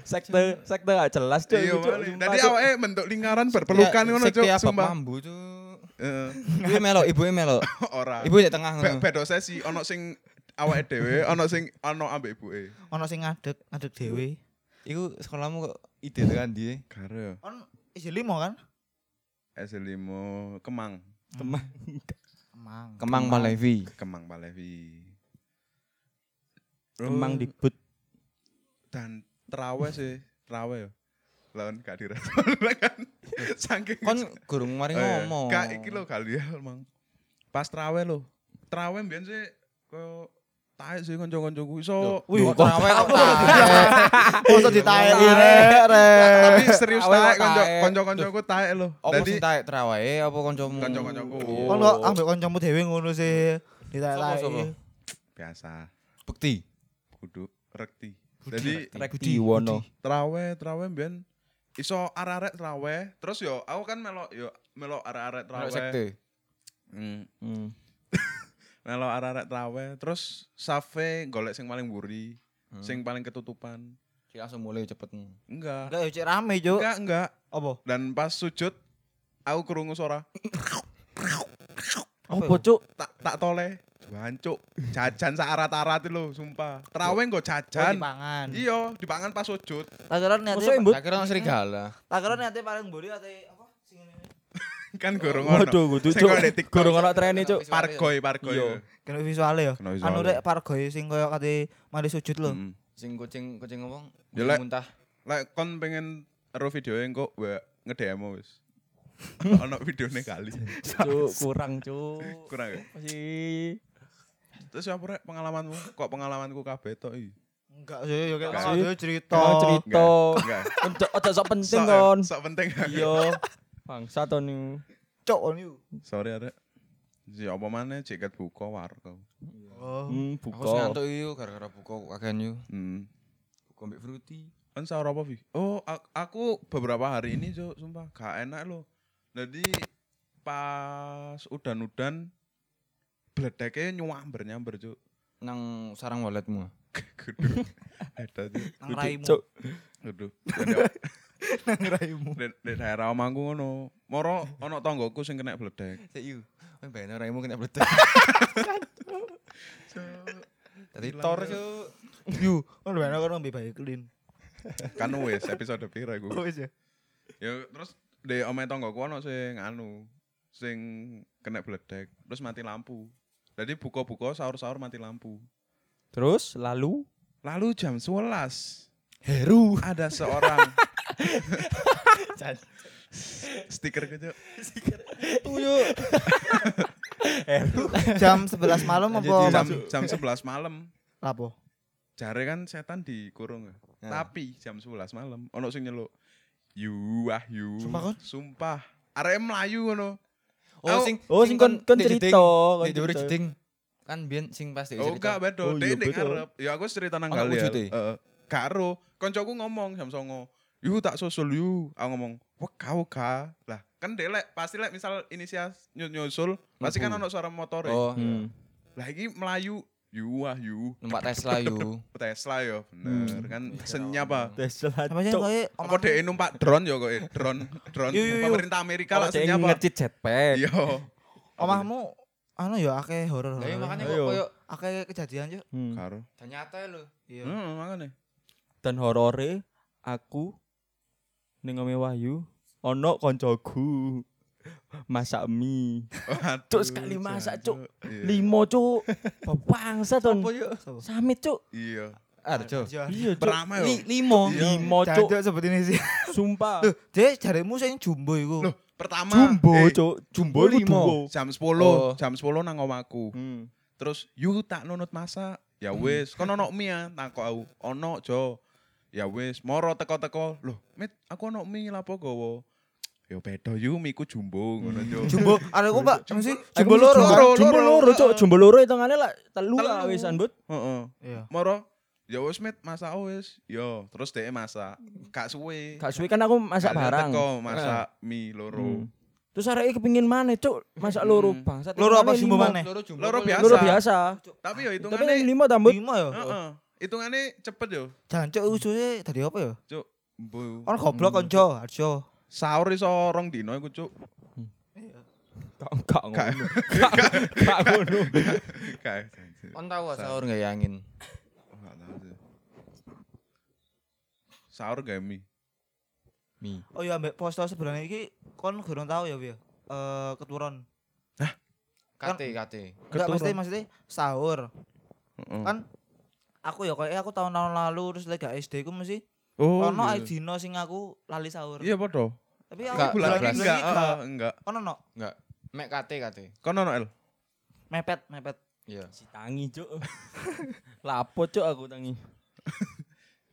Sekte sekte gak jelas cuk. Iya, iku, Cuk. malah. Sumpah, Dadi Cuk. Ya, awake bentuk lingkaran berpelukan ngono Cuk, Sumpah. sumpah. Mambu cuk. Heeh. Ibu melok, ibu melok. Ora. Ibu di tengah Be- ngono. Bedo sesi ono sing awake dhewe, ono sing ono ambek ibuke. Ono sing ngadeg, ngadeg dhewe. Iku sekolahmu kok ide tekan dia. Kare On isi limo kan? S5 Kemang, Kemang, Kemang. Kemang Palevi. Kemang Palevi. Oh, Kemang dibut. dan trawe sih, trawe yo. Lawan gak dirasa kan. Iya. Saking Kon gurung Oh, mari iya. ngomong. Gak iki lho kali ya, Mang. Pas trawe lho. Trawe mbiyen sih koyo taek sih kanca-kancaku iso. Wih, kok trawe kok Masa Eh, ditaeli Tapi serius Trawe taek kok taek. kanca-kancaku taek lho. Apa Dadi sing tak trawe apa kancamu? kanca-kancaku. Kon kok ambek kancamu dhewe ngono sih. Sopo, Ditaeli. sopo? biasa Bekti. kudu rekti jadi Rekti. Rek Budi, Diwono. trawe trawe mbiyen iso arek-arek trawe terus yo aku kan melok yo melok arek-arek trawe Melok sekte. Hmm, Hmm. melok arek-arek trawe terus safe golek sing paling buri Hmm. sing paling ketutupan Ki langsung mulai cepet. enggak Enggak yo cek rame, Cuk. enggak enggak Apa? dan pas sujud aku kerungu suara Apa cuk? tak tak toleh jancuk jajan searat-arat lho sumpah trawe nggo Kan jajan Oh, pangan. iya dipangan pas sujud Takaran niate Masa imbut? Tak kira ono serigala. takaran niate paling mburi ate apa sing ngene. kan gorong ono Oh, Waduh, kudu Sing cuk. kalau di TikTok. Gurung ono trene cuk. pargoy pargoy Iya. Kena visuale yo. Kena visuale. Anu rek pargoy sing koyo kate mari sujud lho. Mm. Sing kucing kucing ngomong Jelek. muntah. Lek kon pengen ero video yang kok wa ngedemo wis. ono videone kali. Cuk, kurang cuk. Kurang ya. Masih. Terus apa rek pengalamanmu? Kok pengalamanku kabeh tok iki? Enggak sih yo kayak Enggak ngono sih. dhewe cerita. Kau cerita. Enggak. Ojo ojo sok penting Sok- ya, kon. Sok penting. Iya. Bangsa to niku. Cuk on you. Sorry arek. Si apa maneh ceket buka warung. Oh. Hmm, Aku sing buka. ngantuk iki yo, gara-gara buka kakean yo. Hmm. Buka mbek fruity. Kan sahur apa, Vi? Oh, a- aku beberapa hari ini, Cuk, sumpah gak enak loh. Jadi pas udan-udan bledeke nyuamber-nyamber, Cuk. Nang sarang waletmu. Kudu. Ada, Cuk. Nang raimu. Cuk, Aduh. Nang raimu. Di daerah omahku ngono. Moro ana tanggoku sing kena bledek. Sik yo. Oh, ben ora mungkin kena bletek. Tadi tor cuk. Yu, ono ben kono mbe bae clean. Kan wis episode piro Oh iku. wis ya. Ya terus di omahe tanggoku ana sing anu sing kena bledek terus mati lampu. Jadi buka-buka sahur-sahur mati lampu. terus lalu Lalu jam 11 Heru. ada seorang stiker gitu. Jam 11 malam apa? Jam Mas? jam 11 malam. Apa? jare kan setan dikurung. ya. Ya. Tapi jam 11 malam ono sing nyeluk. Yu ah yu. Sumpah kon? Sumpah. Arek melayu ngono. Oh Aku- sing oh, sing kon- kon di jeding, cerita, kon di juri cerita. jeding. Kan biyen sing pas di Oh juri gak bedo, oh, Oh, iya, dek bedo. ngarep. Ya aku cerita nang Ono kali. wujude? Heeh. Karo koncoku ngomong jam 09.00. Yu tak susul yu. Aku ngomong, "Weka weka." Lah, kan dek lek pasti lek misal inisial nyu- nyusul, pasti kan ono Mlebu. suara motor. Oh, hmm. Lah iki melayu. Yu ah yu. numpak Tesla yo. Tesla yo, bener Hmm. kan senyap ah. Tesla Apa sih cuk. koyo Apa dek numpak drone ya kok eh? drone drone Yo, yo, yo. pemerintah Amerika Kalau lah dia senyap. ah. ngecit jetpack Iya. Omahmu anu ya akeh horor. Lah iya makanya Ayo. kok koyo akeh kejadian yo. Hmm. Karo. dan nyata ya lho. Iya. Heeh, makane. Dan horore aku ning omahe Wahyu ono koncoku masak mie. Cuk, sekali masak, Cuk. Iya. Limo cuk. Bangsa ton. Sapa? Samit cuk. Iya. Arjo. Iya cuk. Pertama yo. Li, limo. Iya. Limo cuk. Cocok seperti ini sih. Sumpah. Loh, dia jaremu sing jumbo iku. Loh, pertama Jumbo eh, cuk. Jumbo Jumbo limo. limo. jam 10, Oh. jam 10 nang omahku. Hmm. Terus yu tak nunut masak. Ya wis, kon ono mie ya, takok aku. Ono Jo. Ya wis, moro teko-teko. Loh, Mit, aku ono mie lapo gowo. Ya beda yu miku Hmm. jumbo ngono Jo. Jumbo, ada aku Pak, mesti Aku jumbo mesti loro. jumbo. kan? Jumbo loro, loro cuk. heeh. Jumbo loro hitungane lah telu lah Telu. wis anbut. Heeh. Iya. Moro, ya wis Mit, masak oh, wis. Yo, terus dhek masak. Gak suwe. Gak suwe kan aku masak Gak barang. teko, masak mie loro. Hmm. Terus arek kepengin maneh cuk masak loro Hmm. bangsat. Loro apa limo. jumbo maneh? Loro jumbo. Loro kok biasa. Loro biasa. Tapi yo Tapi ning hitungane limo tambut. Lima yo. Heeh. Hitungane cepet yo. Jancuk usule dari apa yo? Cuk, mbo. Orang goblok konco, Arjo. Sahur iso rong dino iku, Cuk. Gak gak ngono. Gak. Gak ngono. Gak. Kon tau gak sahur gak angin? Enggak tahu sih. Sahur gak mie? Mi. Oh iya ambek posto sebelah iki kon gurung tau ya, Wi. Eh keturun. Kate kate. Enggak Keturun. mesti maksudnya sahur. Heeh. Kan aku ya kayak aku tahun-tahun lalu terus lagi SD ku mesti Oh. ono ae iya. dino sing aku lali sahur. Iya padha. Tapi aku Enggak, Bulan bulan ini enggak, ah. iki gak. eh, enggak. Ono no, Enggak. Mek kate kate. Kono no El. mepet, mepet. Iya. Si tangi cuk. Lapo cuk aku tangi.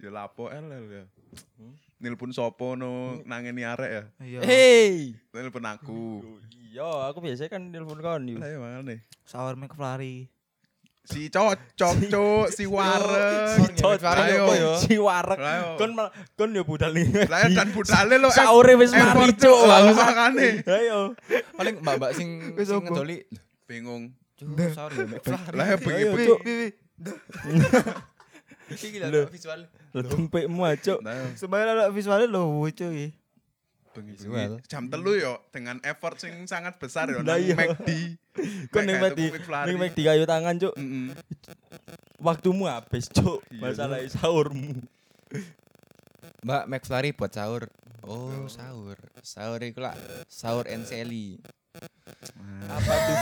Ya lapo El El ya. Hmm? Nelpon sopo no nangeni arek ya. Iya. Hey. Nelpon aku. Iya, aku biasanya kan telepon kon yo. Lah ya mangane. Sahur make pelari. Si cocok cuk, si Si wareng. cocok. Ayo. Apa ya? Si warek. Lah yo. Kon mal- kon yo budal ning. Lah ya, dan budale lo. Saure wis mari Effort, cuk. Cuk. Lah, bangsat. makane. Ayo. Paling mbak-mbak sing Wis sing apa? ngedoli. Bingung. Cuk, sahur ya mek. Lah ya Ayo bengi-bengi. cuk. Iki gila Lho. lho, visual. Ledung pikmu aja. Lah ya, Sebenarnya ada visualnya lho lucu iki. Visual. bengi-bengi. Jam telu yo dengan effort sing sangat besar yo Lah nang iya. McD. Kon ning Mek, mati. tuku McFlurry. Ning mati kayu tangan cuk. Mm-mm. Waktumu habis cuk. Iya, Masalah sahurmu. Mbak McFlurry buat sahur. Oh, sahur. Sahur iku lah sahur and Sally. Apa tuh?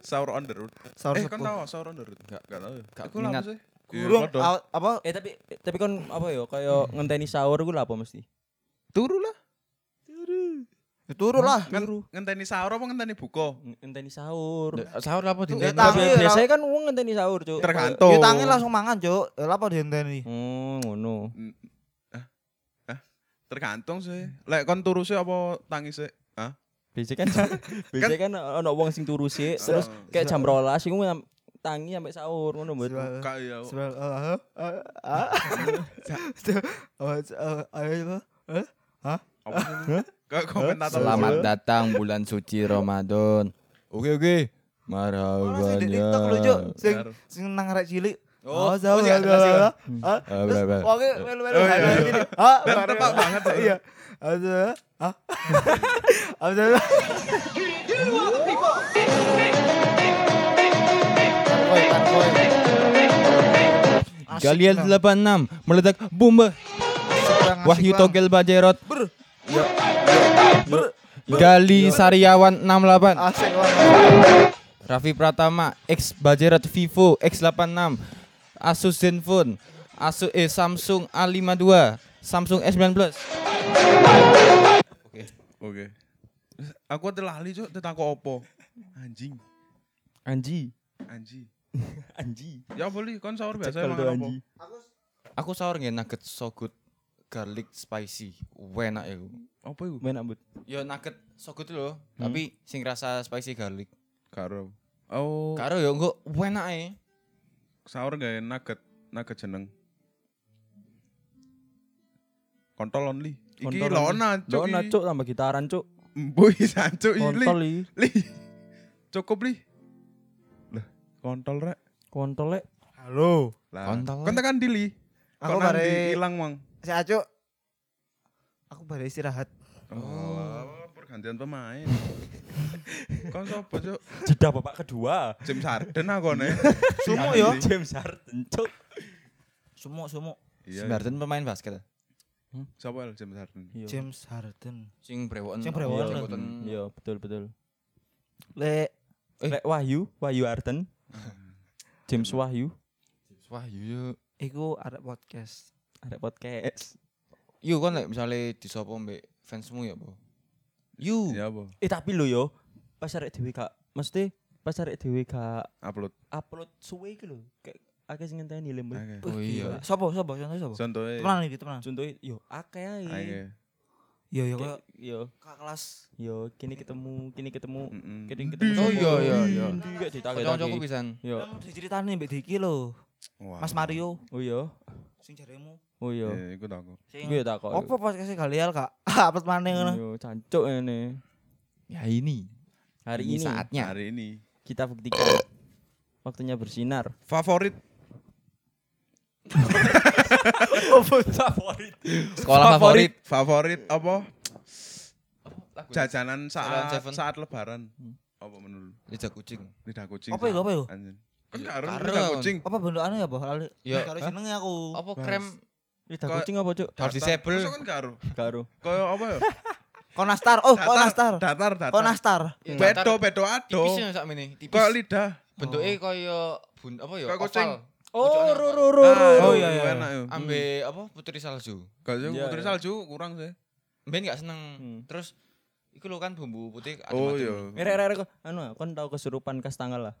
Sahur on the road. Sahur eh, kan sepuh. tahu sahur on the road? Enggak, enggak tahu. Gak Iku lho apa minat. sih? Gurung Iya, aw- apa Eh tapi tapi kon apa ya kaya ngenteni sahur ku lah apa mesti? Turu lah. Ya turu lah. Ngen- kan ngenteni sahur apa ngenteni buka? Ngenteni sahur. Sahur apa Tuh, dinten? eta. Tapi Biasanya ya, biasanya kan wong ngenteni sahur, Cuk. Tergantung. Ya tangi langsung mangan, Cuk. Ya lapo dihenteni. Oh, ngono. Mm, ah, ah, Tergantung sih. Lek kon turu sih apa tangis sih? Hah? Biasanya kan biasanya kan ono wong sing turu sik terus Sahur. kayak jam 12 iku ngam- tangi sampai sahur ngono mbut. Enggak ya. Sebel- eh, eh, eh, ah. Cuk, eh, eh, ayo, eh, Hah? Apa sih? Enggak komentator. Selamat datang bulan suci Ramadan. Oke oke. Marhaban Orang sing di ya. TikTok lho, Cuk. Sing Benar. sing nang arek cilik. Oh, Ah, sama, oh, iya, sama, iya, iya. sama. Ah, Ah, terus bener, bener. wonge melu-melu Oh, iya, arek iya. cilik. Ah, Dan arek- tepat banget, Cuk. Iya. Ada. Ah. Ada. Galian 86 meledak bomba. Wahyu Togel Bajerot. Gali Sariawan 68. Asik banget. Raffi Pratama X Bajerot Vivo X86. Asus Zenfone. Asus eh, Samsung A52. Samsung S19 Oke. Aku telah lali, Cuk, tetakok opo? Anjing, Anji, anjing. anji. Ya boleh, kon sahur biasa Cekel tuh mangan opo? anji. Aku sahur nggih nugget so good garlic spicy. Enak iku. Apa iku? Main ambut. Ya nugget so good loh, tapi sing rasa spicy garlic. Karo. Oh, Karo ya engko enak ae. sahur gak nugget nugget jeneng kontol only iki Kontol lona Cuk, cuk iki. cuk tambah gitaran cuk. mbuh sancu iki Kontol i. li cukup li lah kontol rek Kontol lek. Halo. lah Kontol, kon tekan di li Aku kon bare- nanti ilang mang Si Acu. Aku baru istirahat. oh, pergantian Oh, pemain Kon sapa, Cuk? Jeda bapak kedua. James Harden aku Iya, ne. Sumuk yo. James Harden, cuk. Sumuk sumuk. Iya. Sembarten pemain basket. Sapa El James Harden? Iya. James Harden. Sing brewoken. Sing apa, brewoken. sing Iya, boten. Iya, betul betul. Le Lek eh. Wahyu, Wahyu Harden. James Wahyu, Wah, yo. iku arek podcast. ada podcast. Yo kon lek misale disopo mbek fansmu ya, Bu. Uh. You. Ya apa? Eh tapi lo yo, pas arek dhewe gak mesti pas arek dhewe gak Upload. upload suwe iki lho. Kayak akeh sing ngenteni lembur. Oke. Oh iya. Sopo sopo contoh sopo? Contohe. Temenan iki temenan. Contohe yo akeh ae. Oke. Yo yo Kayak, koyo Yo, kak kelas. yo kini ketemu, kini ketemu, Mm-mm. kini ketemu. Oh, iya, iya, iya. Enggak Kanca-kancaku ditagi-tagi. pisan. Yo. Yang diceritani mbek Diki lho. Wah. Mas Mario Oh iya. sing jaremu. Oh iya. Ya, ikut aku. Sing Gue tak kok. Opo podcast Galeal Kak? Upload maneh ngono. Yo, cancuk ini. Ya ini. Hari Ini ini Ya. saatnya. Hari ini. kita buktikan waktunya bersinar. Favorit Favorit. Sekolah favorit. favorit apa? Lagu Jajanan saat Jajanan Seven. saat lebaran. Apa menurut? Lidah kucing. Lidah kucing. Hmm. Apa ya, iku apa iku? Anjir. Kan Ya, karo karo, lidah kan. kucing. Apa bentukane ya, Bah? Lali. Ya, Karo hah? jenenge aku. Apa Bas. krem Lidah Kok- kucing apa, Cuk? harus disable? Masa kan karo. Karo. Kayak apa ya? Konastar. Oh, Konastar. Datar, datar. Konastar. Bedo, bedo ado. Tipisnya sak mene, Kayak tipis. lidah. Bentuke kaya bun apa ya? Kayak kucing. oval. Oh, Pucukannya ro ro oval. ro ro. Ah, Oh, iya, iya. Enak ya. Ambe apa putri salju. Gak sih, Iya, putri iya. salju kurang sih. Ben gak seneng. Hmm. Terus iku lho kan bumbu putih Oh adem-adem. iya. Rek rek rek. Anu, kon tau kesurupan kas tanggal lah.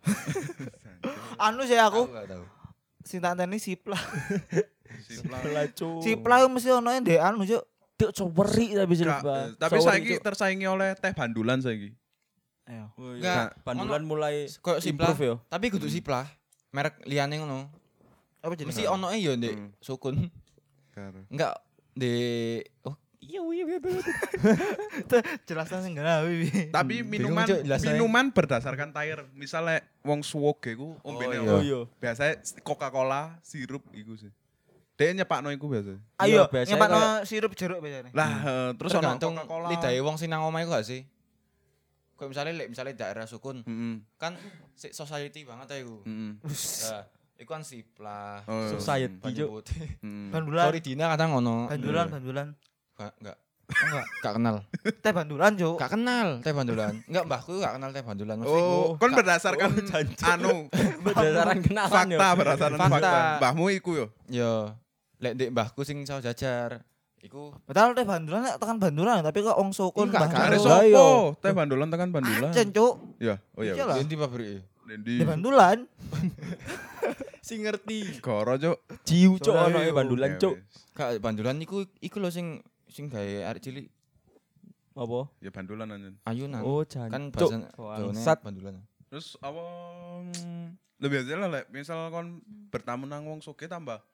Anu sih aku Aku gak tahu. sing tak anteni sipla. Lah, Cuk. Sipla mesti ono ndek anu, Cuk. Cuk, coweri Gak, tapi eh, silba. Tapi saiki tersaingi oleh teh bandulan saiki. Ayo. Enggak, bandulan mulai Kayak siplah. improve ya? yo. Tapi kudu siplah. Merek liyane ngono. Apa jadi? Mesti ono ya ndek Hmm. sukun. Enggak ndek oh Iya, iya, iya. jelasan sing gawe. Tapi bingung minuman Cuk, jelasnya. minuman berdasarkan tier. Misalnya wong suwoge ku ombene iya. apa? Oh iya. Biasanya Coca-Cola, sirup iku sih. Dia nyepakno iku biasa. Ayo, Iya, biasanya nyepakno sirup jeruk biasane. Lah, eh, terus ono tergantung Coca-Cola. lidahe wong sing nang omah iku gak sih? Kayak misalnya lek misalnya daerah sukun Heeh. kan si society banget ya iku. Heeh. Nah, iku kan siplah. Hmm. Oh, iya. Society, Baju Cuk. putih. Heeh. Bandulan. Sorry Dina kadang Hmm. ngono. Bandulan, bandulan. Ba- Enggak. Enggak. Enggak kenal. Teh bandulan, Cuk. Enggak kenal teh bandulan. Enggak, mbahku gak kenal teh bandulan. Mesti Oh, iku- kon gak- berdasarkan Oh, jancuk. anu Berdasarkan kenalan ya, yo. fakta berdasarkan Fakta. fakta. Mbahmu iku yo. Yo, ya, lek ndek mbahku sing saus jajar. Iku Padahal teh bandulan nek tekan bandulan tapi kok wong sokon Iya, gak Are Karo. sopo? Teh bandulan tekan bandulan. Ancen, Cuk. Ya, oh iya. Iya lah. Iya, endi pabrik e? Dendi. Teh bandulan. Sing ngerti. Goro, Cuk. Jiu, Cuk, ono Ayo. Ya bandulan, Cuk. wis. Kak bandulan iku iku lho sing sing gawe arek cilik Apa? Ya bandulan anjen. ayunan. Oh, jancuk. kan bahasan bangsat. bandulan. Terus apa mm, lebih aja lah, lek misal kon bertamu nang wong soge tambah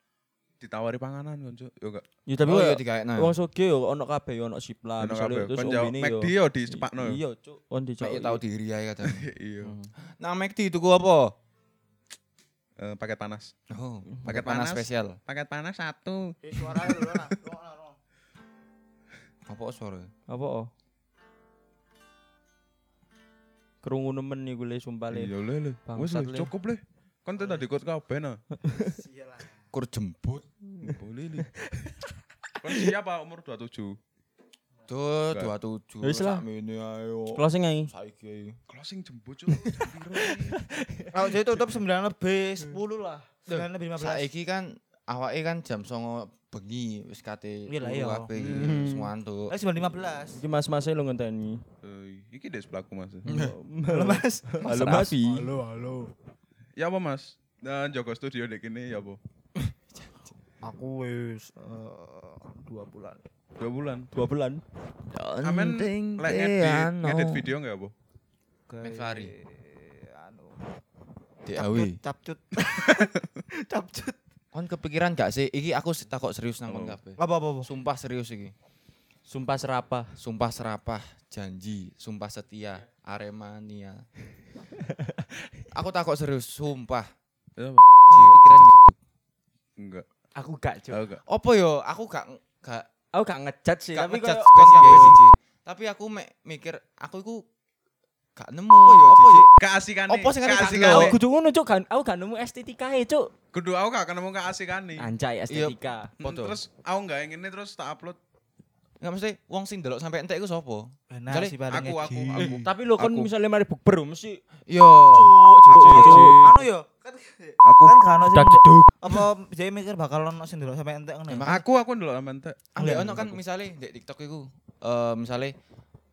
ditawari panganan kon, Cuk. Yo gak. Ya tapi oh, kok- yo digaekno. Wong soge yo ono kabeh yo ono sipla iya, Ono Ah, misalnya kabeh. terus ya. Kon jawab ombene McD yo. yo dicepakno yo. Iya, Hmm. Cuk. Kon Mek dijawab. yo tau diri ae kadang. Iya. Nang McD tuku apa? Eh, paket panas. Oh, Paket paket panas panas. spesial. Paket panas satu. Eh, suarane lho lah. Rungokno, rungokno. Apa suara? Apa? oh? Kerungu nemen iku le sumpah le. Iya le le. Wis Bangsat, le, le. cukup le. Kon tadi tadi ikut kabeh nah. Sialah. Kur jemput. Boleh le. Kon siap apa umur 27? Duh, 27. Wis lah. Sakmene ayo. Closing ae. Saiki ae. Closing jemput Cuk. Jam piro iki? Kalau jadi tutup 9 lebih 10 lah. 9 lebih 15. Saiki kan awake kan jam 09.00 bengi wis kate Iya lah, iya. kabeh semua antuk. Eh, 9.15. Iki mas-mase lo ngenteni. Eh, Iki des pelaku Mas. Halo Mas. Halo Mas. Halo. Ya apa Mas? Nah, Joko Studio dek ini ya apa? Aku wis 2 bulan. Dua bulan. Dua bulan. anu. Amen lek ngedit, ngedit video nggak ya apa? McFlurry. Anu. DAW. Capcut. Capcut. Kon kepikiran gak sih iki aku se- takok serius nang kon Apa? kabeh. Apa apa apa. Sumpah serius iki. Sumpah serapa. Sumpah serapah, janji, sumpah setia, Aremania. aku takok serius, sumpah. Ya apa? Ji, kepikiran gitu. Enggak. Aku gak, Cuk. Aku gak. Apa yo? Aku gak gak Aku gak ngejat sih, Iya, gak tapi ngejudge kayak kon kon gak gak Tapi aku mek mikir aku iku gak nemu ya Apa Jijik. Keasikane. Apa sing ngerti keasikane. gak aku kudu ngono cuk, kan aku gak nemu estetikae cuk. Kudu aku gak ketemu keasikane. Anjay estetika. Hmm, foto. Terus aku gak ingin terus tak upload. Enggak mesti wong sing ndelok sampai entek iku sapa? Benar Jare, sih paling aku, aku, edgy. aku. eh, Tapi lo kon Aku. misalnya mari bukber mesti Yo. cuk cuk Jijik. cuk. Anu yo, kan Aku kan kan ono sing Sudah jeduk. apa jadi mikir bakal ono sing ndelok sampe entek ngene. Emang- Aku aku ndelok sampe entek. Ambek ono kan misale di TikTok iku eh misale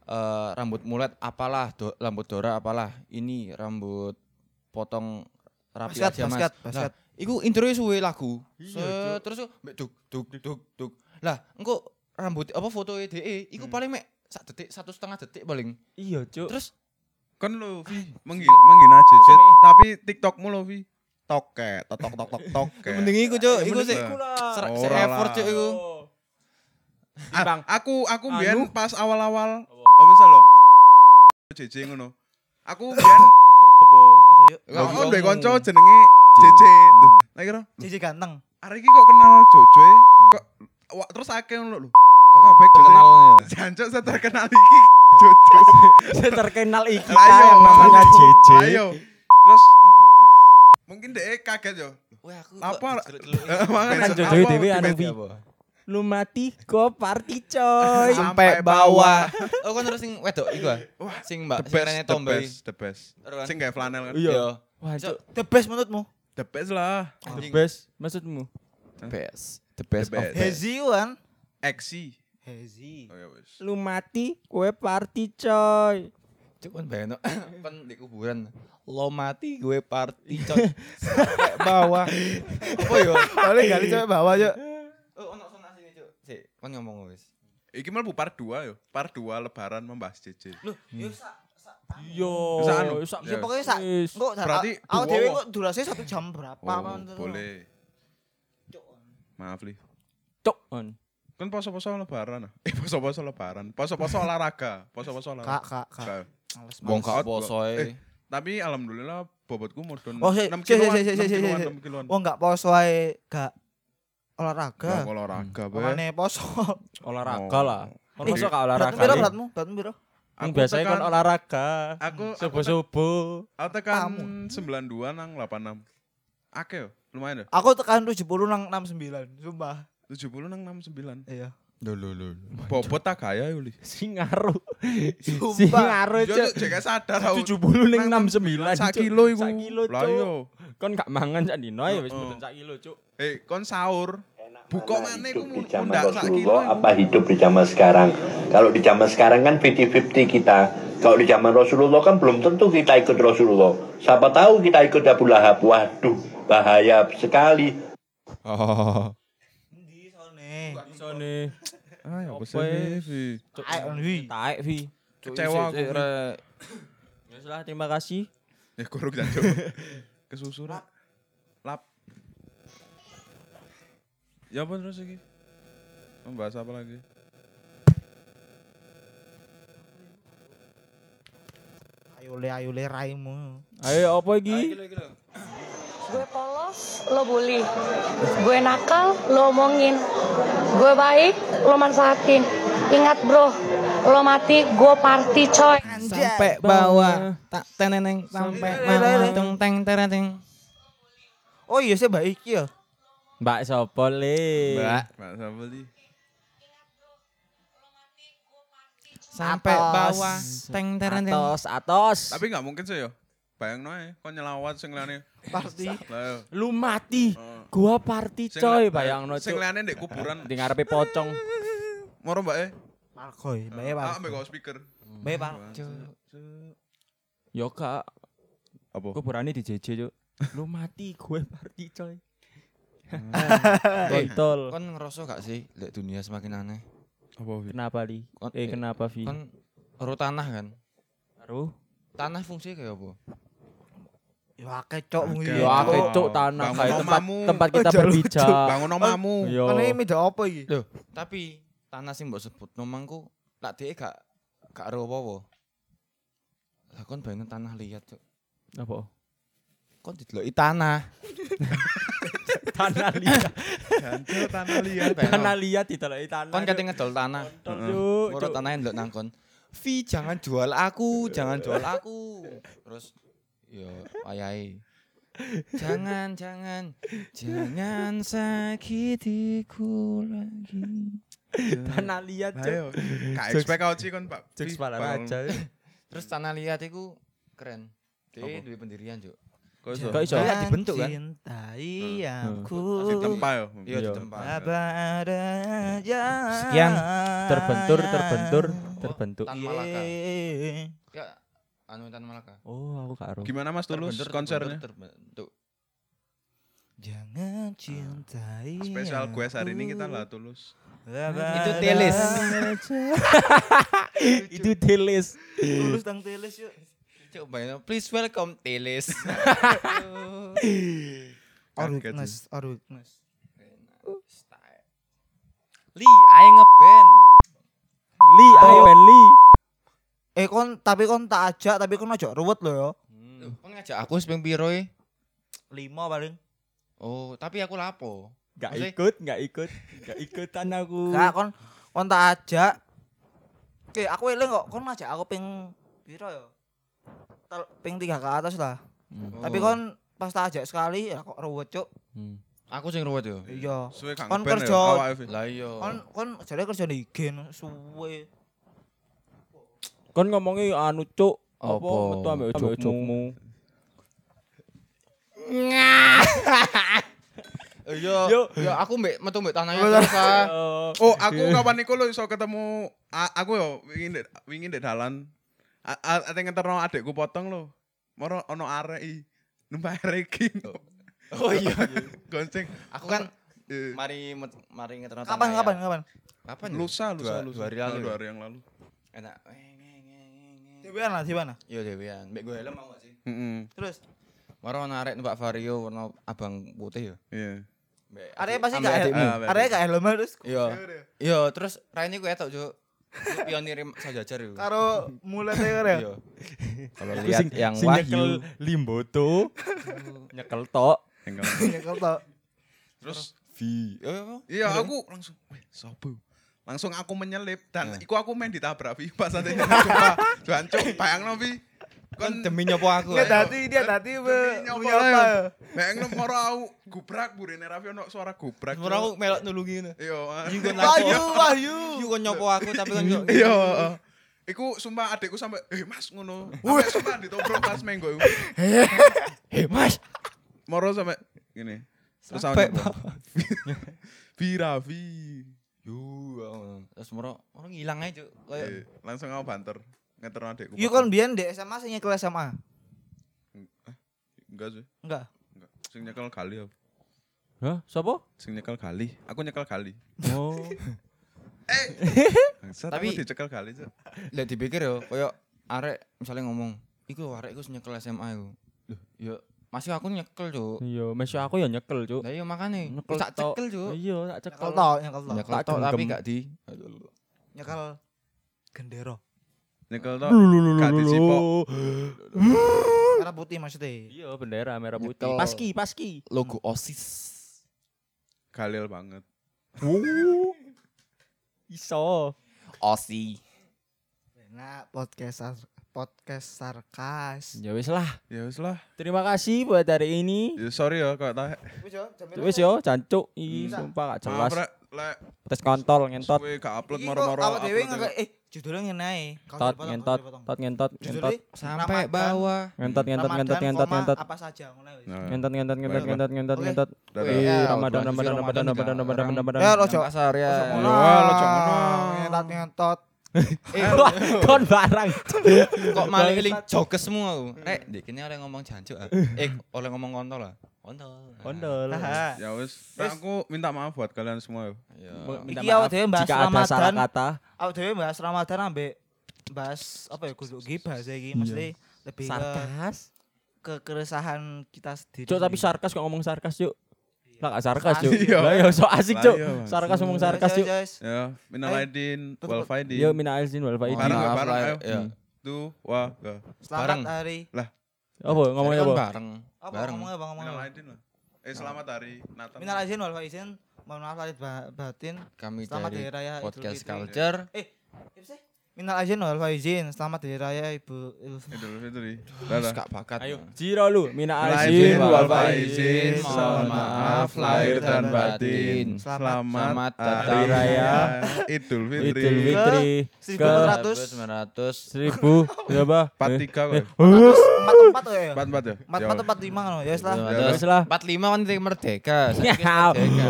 eh rambut mulet apalah, do, rambut dora apalah. Ini rambut potong rapi Basket, aja Mas. basket, Nah, basket. iku intronya suwe lagu. Set, terus iku mek duk duk duk duk. Lah, engko rambut apa foto DE iku paling mek sak detik satu setengah detik paling Iya cuk. terus Kon lo Vi menggil menggina jejet tapi TikTokmu lo Vi toket totok tok tok toket. mending iku cuk iku sih iku ser- Ora se lah. effort cuk iku Oh. Ah, Bang. aku aku mbiyen Anu. pas awal-awal oh misal lo JJ ngono. Aku mbiyen opo? Lah, Aku iya. duwe kanca jenenge JJ. Lah kira Cici ganteng. arek iki kok kenal Jojo e? kok wah, terus akeh ngono lho. Kok kabeh terkenal terkenal. ya. Jancuk seterkenal iki Jojo. Saya terkenal iki Lah, iya, yang namanya makanya. JJ. Ayo. Terus mungkin dhek kaget yo. Wah, aku kok Apa? diceluk-celuk ini? Kan Makanya Jojo apa dhewe anu tiba-tiba- wi. Lu mati go party coy. Sampai bawah. Oh kan terus sing wedok iku ah. Wah, Sing mbak The sing rene best, the tomboy. best, the best. Terus. Sing gawe flanel kan. Iya. Iya. Wah cuk. The best menurutmu? The best lah. The Anjing. best maksudmu? Hah? best. The best. The of best. best. Hezi kan? Exi. Hezi. Oh ya wis. Lu mati kue party coy. Cuk kan bayangno kan di kuburan. Lo mati gue party coy. Sampai bawah. Apa yo? Boleh kali cewek bawa yuk. Oh ono sono sini cuk. Sik, kon ngomong wis. Iki mlebu par 2 yo. Par 2 lebaran membahas JJ. Loh, yo sak sak Yo. Bisa anu? sak- Iya. Ya pokoknya sak Wis. engko sak. Berarti aku duo, dhewe wo. kok durasinya satu jam berapa Oh, mantu. boleh. Maaf, Li. Cok on. Kan poso-poso lebaran. ah. Eh, poso-poso lebaran. Poso-poso olahraga. Poso-poso Kak, olahraga. kak, kak. Gak. Males Wong Males. gak poso Eh, e. Tapi alhamdulillah bobotku mudun Oh, si- 6 si- si- kiloan, si- si- 6 si- si- kiloan, si. Oh, 6 kiloan. Wong gak poso ae gak Gak olahraga. olahraga, Be. Makane poso. Olahraga Oh. lah. Kon Eh, masa gak Beratmu olahraga. piro nih? beratmu? Beratmu piro? Yang Aku biasanya tekan- kon olahraga. Aku aku te- Subuh-subuh. aku tekan Tamu. 92 nang 86. Akeh yo, lumayan yo. Aku tekan 70 nang 69, sumpah. 70 nang 69. Iya. Lho lho lho. Bobot tak gaya yo, Li. Sing ngaruh. Sing Sumpah. ngaruh Yo cuk. cuk, jek gak sadar aku. 70 ning Nang 69 Sak Cuk. kilo iku. Sak kilo Lah iya. cuk. yo. Kon gak mangan sak dino ya wis Heeh. mboten sak kilo cuk. Eh, kon sahur. Buka Mana mana iku hidup di zaman mundak sak kilo. Rasulullah apa hidup di zaman sekarang kalau di zaman sekarang kan 50-50 kita kalau di zaman Rasulullah kan belum tentu kita ikut Rasulullah siapa tahu kita ikut Abu Lahab waduh bahaya sekali Oh. Endi sone? Isone. Ayo, Apa pesen ya? Levi. Taek, on, wi. Taek wi. Kecewa aku, Wi. Ya salah terima kasih. Ya kurung jancuk. Kesusu Rek. Lap. Ya apa terus iki? Membahas apa lagi? Ayo le ayo le raimu. Ayo apa iki? Gue polos, lo bully. Gue nakal, lo omongin. Gue baik, lo manfaatin. Ingat bro, lo mati, gue party coy. Anjay. bawah. tak teneneng sampai bawah. tung teng tereng. Oh iya sih baik ya. Mbak sapa le? Mbak Mbak Sambel di. sampai Atos. bawah teng tereng. Atos, atos. Tapi enggak mungkin sih yo. Bayangno ae kon nyelawat sing liyane. Party. Lah yo. Lu mati. Heeh. Gua party Sing coy, li- bayangno Sing cuk. liyane ndek kuburan. Di ngarepe pocong. Moro mbak eh. Parkoy, eh, bae Ah, Pak. ambek kok speaker. Bae Pak. Yo kak, Apa? gue Oh. berani di JJ cuk. Lu mati gue party coy. Eh, Hmm. Kontol. Kon ngerasa gak sih lek dunia semakin aneh? Apa? Vi? Kenapa li? Kon- Eh kenapa Vi? Kon ro tanah kan? Aruh. Tanah fungsi kayak apa? Yo akeh cok mung Akeh. iki. Yo Iya. akeh Oh. cuk tanah Bangun kayak tempat omamu. tempat kita Eh, jalur, berbicara. Bangun omamu. Yo. Ono iki mida apa iki? Loh, tapi tanah sing mbok sebut nomangku tak dhek gak gak ro apa-apa. Lah kon bayangin tanah liat, Cuk. Apa? Kon dideloki tanah. Tanah liat. Jancuk tanah liat. Bayangno. Tanah liat eh, ditelok tanah. Kon cuk. kate ngedol tanah. Kontol, cuk. Ora Cuk. tanah ndelok nang kon. Vi jangan jual aku, jangan jual aku. Terus yo ayai. Jangan, jangan, jangan sakitiku lagi. Tanah liat, Cuk. Ayo. Gak expect kau sih kan Pak. Cuk Pi, separah Bang. aja. eh. Terus tanah liat itu keren. Dia duwe pendirian, Juk. Kok iso? Kok iso? Kayak dibentuk, kan? Hmm, Cintai aku. Ditempa yo. Iya, Iya. ditempa. Apa adanya. Sekian, Terbentur, terbentur, terbentuk. Tan Malaka. Yeah. Ya, anu Tan Malaka. Oh, aku gak ero. Gimana Mas Tulus Terbentur, konsernya? terbentur, terbentuk. Jangan cintai. Spesial gue hari ini kita aku. lah Tulus. Itu Telis. Itu delis. Tulus tang telis yuk. Cuk, bayangin, please welcome Telis. Or Kaget weakness, or weakness. Li, ayo ngeband. Li, ayo Ben Li. Eh kon tapi kon tak ajak tapi kon ojo ruwet lo yo. Loh, kok ngajak aku sepeng piro e? Lima paling. Oh, tapi aku lapo. Gak Maksudnya- ikut, gak ikut, gak ikutan aku. Gak Hmm. kon kon tak ajak. Oke, aku eling kok kon ngajak aku ping piro yo? Tel- Ping tiga ke atas lah. Oh. Tapi kon pas tak ajak sekali ya kok ruwet cuk. Hmm. Oh, aku sing ruwet yo. Iya. Suwe gak Kon ngeband ya, kerja- awake Fi. Lah iya. Kon kon jare kerja di IG no, suwe. Kon ngomongi anu cuk apa Apa? metu ambek Ambek jokmu. Iya. Yo. Yo, aku mbek metu mbek tanahnya terus ah. Eh, Oh, aku kapan iku lo iso ketemu a- aku yo wingi ndek wingi ndek dalan. A- a- Ate ngeterno adekku potong lo. Moro ono arek i. Numpah reki. Oh iya. Gonceng. Aku kan Eh, mari met- mari ngeterno Kapan tanahnya. kapan kapan? Kapan? ya? lusa lusa Dua- lusa. Dua hari lalu. Dua ya? hari yang lalu. Enak. Dewean lah, dewean lah. Yo dewean, Iya, mbek gue helm mau gak sih? Heeh. Terus Moro narik numpak Vario warna abang putih yo. Iya. Mbek arek adik- pasti ambek gak adikmu. Ah, berarti. arek gak helm terus Iya. Iya, terus raine ku etok, Cuk. Ku Pionir sajajar yo. karo ya. mulai kare. Iya. Kalau Aku lihat sing- yang sing nyekel wahyu Limboto. nyekel tok. Tinggal. Nyekel Ya, tok. Terus Vi. Eh, apa? iya aku langsung weh sopo. Langsung aku menyelip dan Nah. iku aku main ditabrak Fi pas ate coba. Jancuk bayangno Fi. Kon Kon demi nyopo aku. Dia eh. ya. ayo. tadi dia tadi Demi nyopo ya. apa? eh. ayo. Bayangno moro aku gubrak burine Raffi ono suara gubrak. Moro aku melok nulungi ngono. Iya. ah. Iki kon Wahyu, lapo? wahyu. Iki kon nyopo aku tapi kon kok. Iya. heeh. Iku sumpah adekku sampe eh Mas ngono. Sampai sumpah ditobrok pas menggo iku. Hei, Mas. Moro sampe ngene. Terus sama Sampai nyoba. Vi Raffi. Yo, ngono. terus moro moro ngilang ae, Cuk. Eh, Kayak Langsung aku banter. Ngeterno adekku. Yuk Iya, kon biyen di SMA sing nyekel SMA. enggak sih. Enggak. Enggak. Sing nyekel kali apa? Hah, sapa? Sing nyekel kali. Aku nyekel kali. Oh. Bangsat, Tapi- aku dicekel kali, Cuk. lek dipikir yo, kayak arek misalnya ngomong, "Iku arek iku nyekel SMA iku." Loh, yo masih aku nyekel, Cuk. Iya, mesok aku ya nyekel, Cuk. Lah iya makane, tak tok. cekel, Cuk. Iya, tak cekel. Nyekel tok, nyekel tok. Nyekel Tak tok tapi genggam. gak di. Nyekel gendera. Nyekel tok. Lulululu. Gak disipok. Merah putih maksudnya. Iya, bendera merah putih. Nyekel. Paski, paski. Logo OSIS. Galil banget. Oh. Iso. OSI. Nah, podcast sar- podcast sarkas. Ya wis lah. Ya wis lah. Terima kasih buat hari ini. Ya sorry ya kok tak. Wis yo, jancuk. Ih, Hmm. sumpah gak jelas. Maaf rek lek Tes kontol ngentot. kowe gak upload Iki kok moro-moro. awak dhewe upload nggak- eh judulnya ngene ae. Kau Tot dipotong, ngentot, kau dipotong. tot ngentot, Judulnya ngentot. Sampai Ramadan, bawah. Ngentot, ngentot, Ramadan, ngentot, ngentot, koma, ngentot. apa saja ngono ae wis. Nah. Ngentot, ngentot, ngentot, Baik, ngentot, ngentot, Oke. ngentot. Dadah. Wih, Ramadan, Ramadan, Ramadan, Ramadan, Ramadan, Ramadan. Ya, Ojo ojo. pasar ya. Ojo ngono. Wah, lo jangan ngono. Ngentot ngentot. Wah, kon barang. Kok malah eling jogesmu aku. Hmm. Rek, ndekene oleh ngomong jancuk ah. Eh, oleh ngomong kontol ah. Kontol. Kondol. Haha. Ya wis. Nah, aku minta maaf buat kalian semua. ya. Ya. Minta Iki awak maaf dhewe bahas jika ada salah Ramadan. kata. Aku dhewe bahas Ramadan ambek bahas apa ya kudu gibah saiki mesti lebih ke Iya. Sarkas. ke keresahan kita sendiri. Cuk, tapi sarkas kok ngomong sarkas, Cuk. Lah gak sarkas, Cuk. Asik, Iya. Lah yo sok asik, Cuk. Lah, iya, Bang. Sarkas ngomong sarkas, Cuk. Ya, minal aidin wal tutup. faidin. Yo mina aizin wal faidin. Bareng, Maaf bareng, lah, ayo. ya. Tu wa ga. Selamat Bareng. hari. Apa ngomongnya Kan apa? bareng. Apa Bareng. ngomongnya Bang ngomongnya? Minal Bang? aidin lah. Eh selamat hari Natal. Minal aidin wal faizin. Mohon maaf lahir ba- batin. Kami Selamat dari Hari Raya Idul podcast Fitri. culture. Eh, apa sih? Minal aizin wal faizin. Selamat hari raya Ibu Idul Fitri. Idul Fitri. Terus Dadah. gak bakat. Ayo, Jiro lu, mina Laizin aizin wal wal faizin, faizin, mohon maaf lahir dan batin. Selamat- Selamat, selamat hari datang raya raya Idul Fitri. Idul Fitri ke 1400. 900 seribu berapa? Empat tiga kok. Empat empat oh ya. Empat empat ya. Empat empat empat lima kan ya setelah. Terus lah. 45 kan titik merdeka. Saiki wis Nyau. merdeka.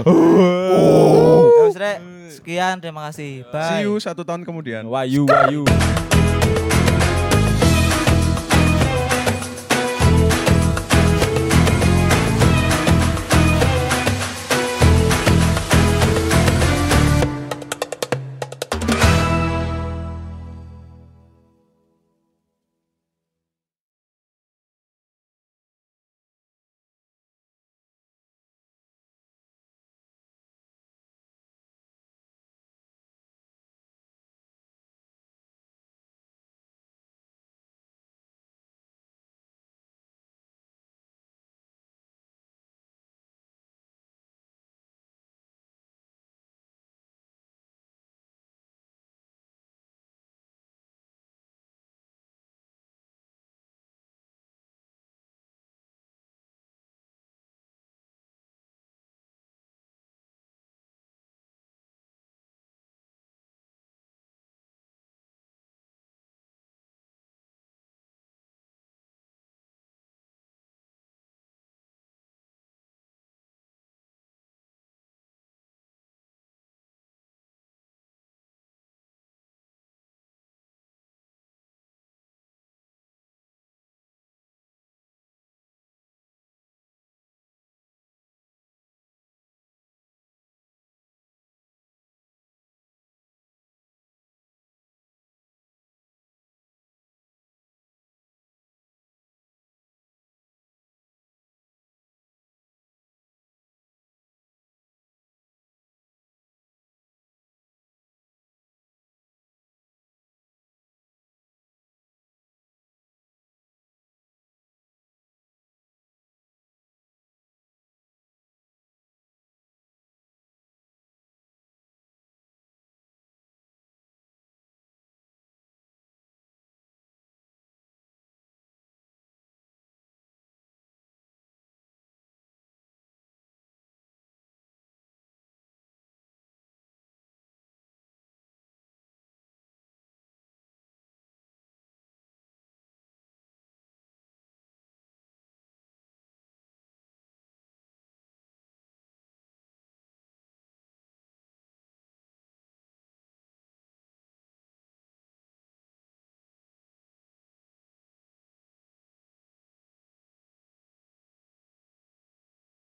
Terus Ya rek sekian terima kasih. See Bye. you satu tahun kemudian. Wayu, wayu.